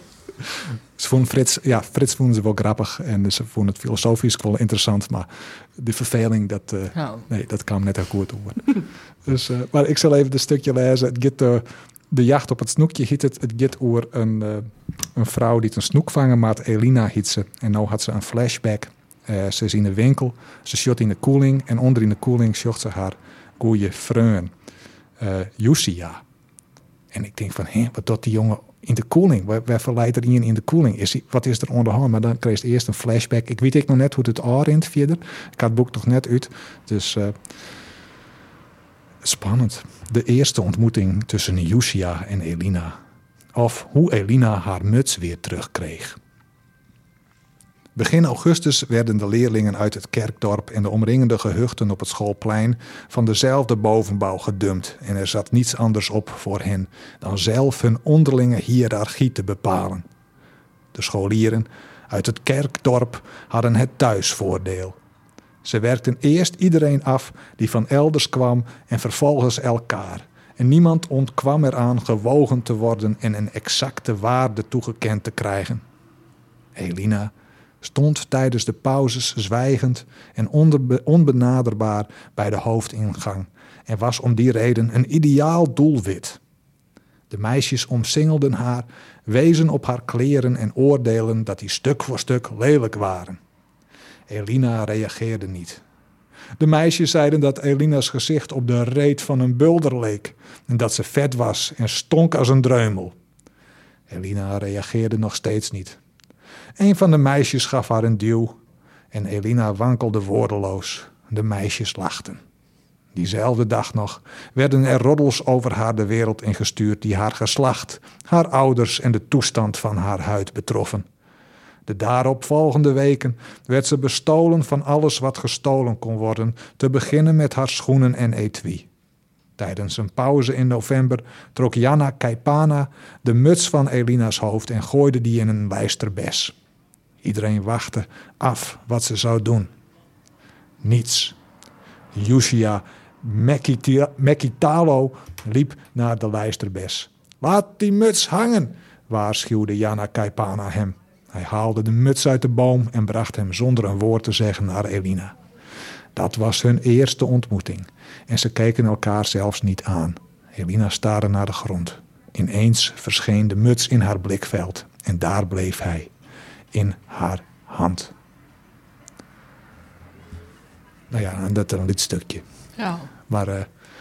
S2: Ze vonden Frits, ja, Frits vonden ze wel grappig en dus ze vonden het filosofisch wel interessant, maar de verveling, dat, eh,
S3: Nou.
S2: nee, dat kwam net heel goed over. dus, eh, maar ik zal even een stukje lezen. Het gaat, eh, de jacht op het snoekje heet het. Het gaat over een, eh, een vrouw die het een snoek vangen maakt, Elina heet ze. En nu had ze een flashback. Eh, ze is in de winkel, ze shot in de koeling en onder in de koeling zocht ze haar goeie vreun, eh Yusia. En ik denk van, hé, wat doet die jongen in de koeling? Waar, waar verleidt er iemand in de koeling? Is die, wat is er onderhand? Maar dan kreeg je eerst een flashback. Ik weet ik nog net hoe het aanrint verder. Ik had het boek nog net uit. Dus eh, spannend. De eerste ontmoeting tussen Yusia en Elina. Of hoe Elina haar muts weer terugkreeg. Begin augustus werden de leerlingen uit het kerkdorp en de omringende gehuchten op het schoolplein van dezelfde bovenbouw gedumpt en er zat niets anders op voor hen dan zelf hun onderlinge hiërarchie te bepalen. De scholieren uit het kerkdorp hadden het thuisvoordeel. Ze werkten eerst iedereen af die van elders kwam en vervolgens elkaar. En niemand ontkwam eraan gewogen te worden en een exacte waarde toegekend te krijgen. Elina stond tijdens de pauzes zwijgend en onderbe- onbenaderbaar bij de hoofdingang en was om die reden een ideaal doelwit. De meisjes omsingelden haar, wezen op haar kleren en oordeelden dat die stuk voor stuk lelijk waren. Elina reageerde niet. De meisjes zeiden dat Elina's gezicht op de reet van een bulder leek en dat ze vet was en stonk als een dreumel. Elina reageerde nog steeds niet. Een van de meisjes gaf haar een duw en Elina wankelde woordeloos. De meisjes lachten. Diezelfde dag nog werden er roddels over haar de wereld ingestuurd die haar geslacht, haar ouders en de toestand van haar huid betroffen. De daarop volgende weken werd ze bestolen van alles wat gestolen kon worden, te beginnen met haar schoenen en etui. Tijdens een pauze in november trok Jana Kaipana de muts van Elina's hoofd en gooide die in een lijsterbes. Iedereen wachtte af wat ze zou doen. Niets. Yushia Mekita- Mekitalo liep naar de lijsterbes. Laat die muts hangen, waarschuwde Jana Kaipana hem. Hij haalde de muts uit de boom en bracht hem zonder een woord te zeggen naar Elina. Dat was hun eerste ontmoeting en ze keken elkaar zelfs niet aan. Elina staarde naar de grond. Ineens verscheen de muts in haar blikveld en daar bleef hij, in haar hand. Nou ja, en dat dan dit stukje.
S3: Ja.
S2: Maar eh,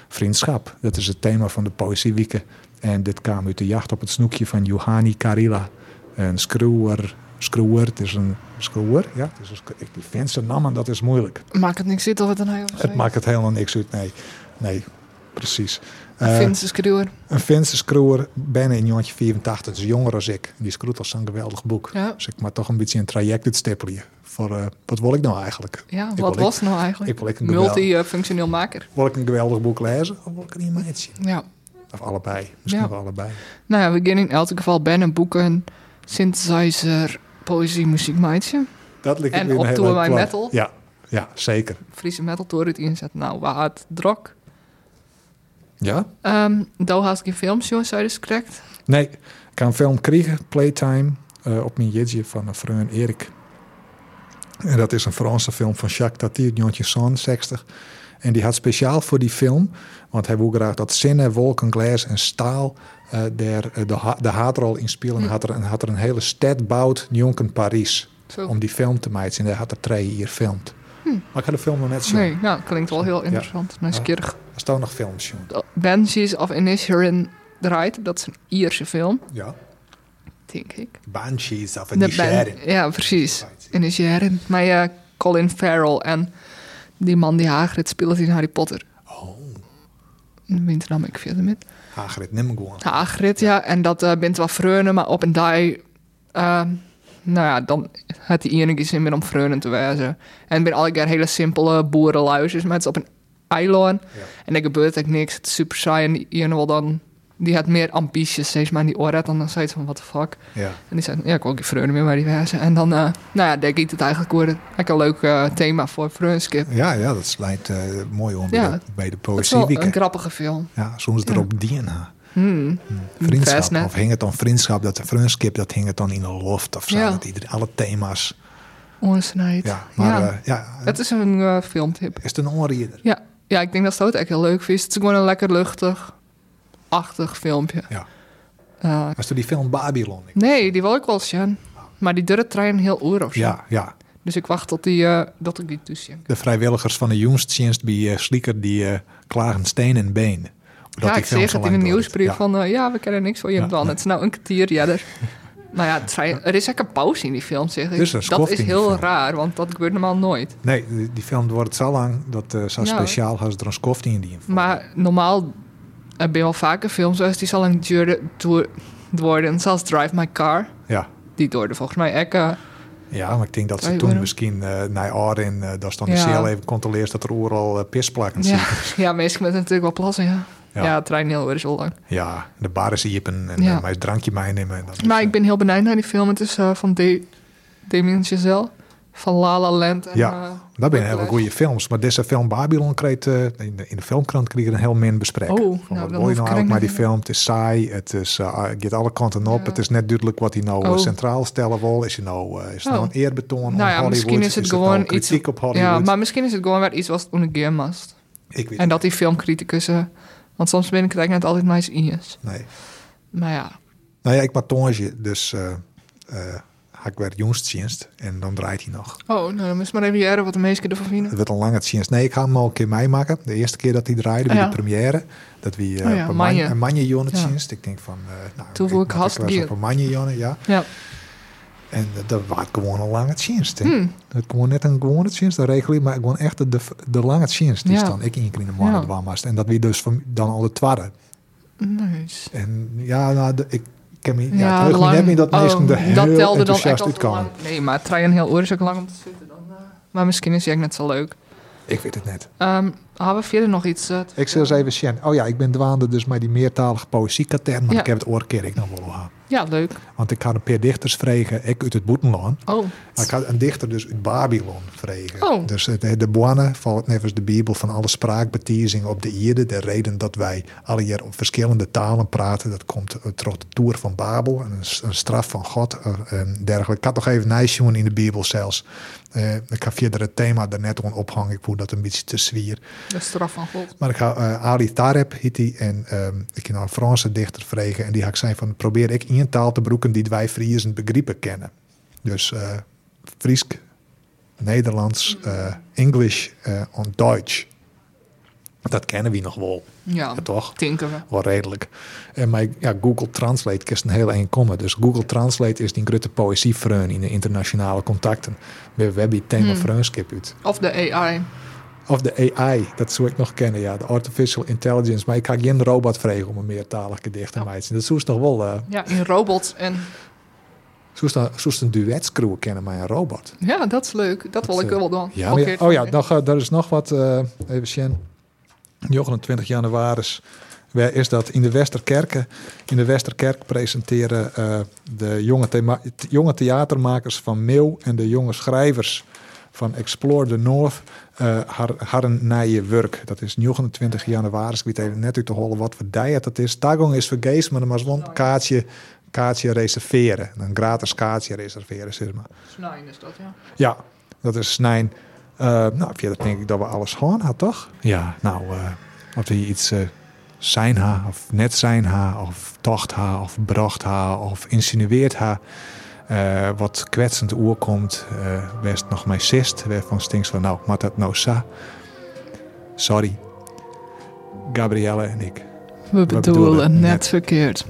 S2: vriendschap, dat is het thema van de Poëziewieken. En dit kwam uit de jacht op het snoekje van Johanni Karila. Een screwer, screwer, het is een screwer, ja. Het is een, screw- ik- die Finse namen, dat is moeilijk.
S3: Maakt het niks zit of het een heel
S2: Het maakt het helemaal niks uit, nee. nee. precies.
S3: Uh,
S2: Eh,
S3: Finse schreeuwer.
S2: een Finse schroewer, ben in jongetje 84, dus jonger als ik. Die schroet al zo'n geweldig boek.
S3: Ja.
S2: Dus ik maar toch een beetje een traject uitstippelen. Voor eh, wat wil ik nou eigenlijk?
S3: Ja,
S2: Ik
S3: wat
S2: wil
S3: was het nou eigenlijk?
S2: ik wil ik een geweld-
S3: Multifunctioneel maker.
S2: Wil ik een geweldig boek lezen of wil ik een animatie?
S3: Ja.
S2: Of allebei, misschien
S3: Ja.
S2: wel allebei.
S3: Nou ja, we gaan in elk geval bennen boeken, synthesizer, poëzie, muziek, meidje.
S2: Dat ligt
S3: En
S2: weer een
S3: op
S2: heel
S3: Tour
S2: leuk
S3: by
S2: plan.
S3: Metal?
S2: Ja, ja zeker.
S3: Friese metal toren inzet. Nou, waar het drok.
S2: Ja?
S3: Ehm daar had ik een filmshow, zei dus correct.
S2: Nee, ik heb een film kregen, Playtime, eh, op mijn jidje van een vriend Erik. En dat is een Franse film van Jacques Tati, uit 1960. En die had speciaal voor die film, want hij wil graag dat zinnen, wolken, glas en staal eh, daar eh, de, ha- de haatrol in spelen.
S3: Hm.
S2: En had er, en had er een hele stad bouwd, Jonken Paris,
S3: Zo.
S2: om die film te maken. En daar had er twee hier filmd. Maar ik had de film nog net zien.
S3: Hm. Nee, nou, klinkt wel heel interessant. Nieuwsgierig.
S2: Er staan nog films, jongen.
S3: Banshees of Inisherin draait. Dat is een Ierse film,
S2: Ja.
S3: denk ik.
S2: Banshees of
S3: De band, ja, precies. Inisherin. Maar ja, Colin Farrell en die man die Hagrid speelt in Harry Potter. Oh. Wint nam ik verder met.
S2: Hagrid Nimmergoorn.
S3: Hagrid, ja. En dat eh bent wel vreunen, maar op een dag... eh, nou ja, dan had die enige zin meer om vreunen te wijzen. En ben alle keer hele simpele boerenluisjes, maar het is op een eiland. En er gebeurt eigenlijk niks. Het is super saai. En die ene wil dan... Die had meer ambities, steeds maar. En die oorheid dan, dan zei ze van, what the fuck.
S2: Ja.
S3: En die zei, ja, ik wil geen vreunen meer bij die wijzen. En dan, eh, nou ja, denk ik het eigenlijk worden. Eigenlijk een leuk eh, thema voor vreunskip.
S2: Ja, ja, dat slijt eh, mooi om
S3: Ja.
S2: bij, de, bij de
S3: Het is
S2: poëzie
S3: wel een grappige film.
S2: Ja, soms erop DNA.
S3: Best
S2: Hmm. Vriendschap.
S3: Hmm. net.
S2: Of hing het dan vriendschap, dat de vriendschap, dat hing het dan in de loft of zo.
S3: Ja.
S2: Dat iedereen, alle thema's.
S3: Onsnijd.
S2: Ja, maar ja. ja
S3: het is een eh, filmtip.
S2: is het een onreader?
S3: Ja, ja ik denk dat ze dat echt heel leuk vindt. Het is gewoon een lekker luchtig, achtig filmpje.
S2: Ja.
S3: Eh,
S2: Was toen die film Babylon? Ik-
S3: nee, die wil ik wel zien. Maar die duurde trein heel uur of zo.
S2: Ja, ja.
S3: Dus ik wacht tot, die, eh, dat ik die toezie.
S2: De vrijwilligers van de jongstdienst bij eh, Slieker, die eh, klagen steen en been. Omdat
S3: Ja,
S2: die
S3: ik
S2: film
S3: zeg
S2: zo
S3: het in
S2: lang
S3: de
S2: duurt.
S3: nieuwsbrief
S2: Ja.
S3: van... eh, ja, we kennen niks van je dan. Het is nou een kwartier jadder. nou ja, het trein- er is echt een pauze in die film, zeg ik.
S2: Dus Er is een
S3: dat
S2: skoft
S3: is
S2: in die
S3: heel
S2: film.
S3: raar, want dat gebeurt normaal nooit.
S2: Nee, die, die film wordt zo lang dat eh zo
S3: Ja.
S2: speciaal als er een skoft in die.
S3: Maar normaal er ben wel vaker films zoals die zo lang duren door- worden. Zoals Drive My Car.
S2: Ja.
S3: Die duurde volgens mij echt... eh,
S2: Ja, maar ik denk dat ze
S3: Wij
S2: toen
S3: worden-
S2: misschien eh naar Arin, eh, dat ze dan de
S3: Ja.
S2: cel even controleert dat er overal eh, pisplakken
S3: Ja,
S2: zitten.
S3: ja meestal met natuurlijk wel plassen, ja.
S2: Ja.
S3: Ja, trein heel erg zo lang.
S2: Ja, de bar is iepen en
S3: Ja.
S2: eh, maar eens drankje meenemen. En dat is,
S3: Maar
S2: eh,
S3: ik ben heel benieuwd naar die film. Het is eh, van De Damien Chazelle, van La La Land. En,
S2: ja,
S3: eh,
S2: dat zijn hele
S3: Whiplash.
S2: goede films. Maar deze film Babylon kreeg eh, in, de, in de filmkrant kreeg er een heel min besprek.
S3: Oh, nou,
S2: Van,
S3: dan
S2: wat
S3: hoef
S2: wil je
S3: ik
S2: nou
S3: er
S2: ook maar
S3: niet
S2: die
S3: in.
S2: film? Het is saai, het is, eh, het gaat alle kanten op.
S3: Ja.
S2: Het is net duidelijk wat hij nou eh,
S3: Oh.
S2: centraal stellen wil. Is hij nou, eh, is het nou
S3: Oh.
S2: een eerbetoon aan
S3: nou ja,
S2: Hollywood?
S3: misschien is het
S2: nou
S3: gewoon iets.
S2: kritiek op Hollywood?
S3: Ja, maar misschien is het gewoon weer iets wat onder gear mast.
S2: ik weet
S3: En
S2: het
S3: dat die filmcriticussen. Want soms ben ik het net altijd maar eens in is.
S2: niet. Nee.
S3: Maar ja,
S2: Nou ja, ik maak tonge, dus eh eh ga ik weer jongstdienst en dan draait hij nog.
S3: oh, nou dan moet maar even jaren wat de meesten ervan
S2: Het
S3: vinden.
S2: werd al lang het zien. Nee, ik ga hem al een keer meemaken. De eerste keer dat hij draaide, bij
S3: Ah,
S2: de
S3: ja.
S2: première. Dat we eh
S3: Oh ja,
S2: op een
S3: Manje.
S2: manje- een manje jongen het
S3: Ja.
S2: zien. Ik denk van, eh nou,
S3: Toen voel ik
S2: maak
S3: hast
S2: wel eens
S3: gier.
S2: op een manje jongen, ja.
S3: Ja,
S2: En eh, dat was gewoon een lange dienst.
S3: Hmm.
S2: Het gewoon net een gewone dienst, een regel, maar gewoon echt de, de lange dienst die
S3: Ja.
S2: dan ik in keer in de maand
S3: Ja.
S2: ja. was. En dat wie dus van, dan al de twaalf.
S3: nice.
S2: En ja, nou, de- ik ken me, ja,
S3: Ja,
S2: het heugt me
S3: lang.
S2: net meer dat
S3: Oh,
S2: meesten er heel
S3: dat telde dan echt
S2: enthousiast
S3: al te
S2: uitkomen.
S3: lang. Nee, maar trein heel oor is ook lang om te zitten dan. eh. Maar misschien is hij ook net zo leuk.
S2: Ik weet het net.
S3: Ehm hebben we verder nog iets? eh, te
S2: Ik zeg eens even, Sjen. Oh ja, ik ben dwaande dus met die meertalige poëziekatern, maar
S3: Ja.
S2: ik heb het oorkeer ik nog wel aan.
S3: Ja, leuk.
S2: Want ik had een paar dichters vregen, ik uit het Boetenland.
S3: Oh,
S2: Maar ik had een dichter dus uit Babylon vregen.
S3: Oh.
S2: Dus het- de Boanne valt nevens de Bijbel van alle spraakbetiezing op de Ierde. De reden dat wij alle jaar op verschillende talen praten, dat komt door de toer van Babel. en Een, s- een straf van God eh, en dergelijke. Ik had nog even Nijsjoen in de Bijbel zelfs. Eh, ik ga verder het thema daarnet gewoon ophangen. Ik voel dat een beetje te zwier.
S3: de straf van God.
S2: Maar ik ga eh, Ali Tareb, heet die, en ehm, ik kan een Franse dichter vregen. En die ga ik zijn van, probeer ik in een taal te broeken die wij Friesen begrippen kennen. Dus eh Friesk, Nederlands, eh English eh, en Duits. Dat kennen we nog wel,
S3: Ja,
S2: toch?
S3: tinken we.
S2: Wel redelijk. En maar ja, Google Translate kist een heel eind komen. Dus Google Translate is die grote poëziefreun in de internationale contacten. We hebben het thema vreunskip uit.
S3: Of de AI.
S2: Of de AI, dat zou ik nog kennen, ja. De artificial intelligence. Maar ik ga geen robot vragen om een meertalig gedicht aan mij te zien. Dat zou ze toch wel... eh
S3: Ja, in robots. En
S2: zou ze dan- zou ze een duet screwen kennen met een robot?
S3: ja, dat is leuk. Dat wil ik
S2: eh,
S3: wel doen.
S2: Ja,
S3: Ook
S2: maar ja-
S3: weer-
S2: oh ja, nog, eh, daar is nog wat. eh, even zien. Jochelen, 20 januari. is- waar Is dat in de Westerkerken? In de Westerkerk presenteren eh, de jonge, thema- t- jonge theatermakers van Meeuw en de jonge schrijvers van Explore the North eh haar, haar nije werk. Dat is 29 januari. Ik weet even net uit te horen wat voor dag het dat is. Tagong is vergees, maar dan moet wel een kaartje, kaartje reserveren. Een gratis kaartje reserveren, zeg maar.
S3: Snijn is dat, ja.
S2: Ja, dat is Snijn. Eh, nou, verder denk ik dat we alles gewoon had, toch? Ja, nou, eh, of die iets eh, zijn ha, of net zijn ha, of tocht ha, of bracht ha, of insinueert ha. eh, wat kwetsend oorkomt, eh west nog mij sist, waarvan stinks van nou, maar dat nou sa. Sorry. Gabrielle en ik.
S3: We
S2: bedoelen
S3: bedoelen
S2: net
S3: net verkeerd.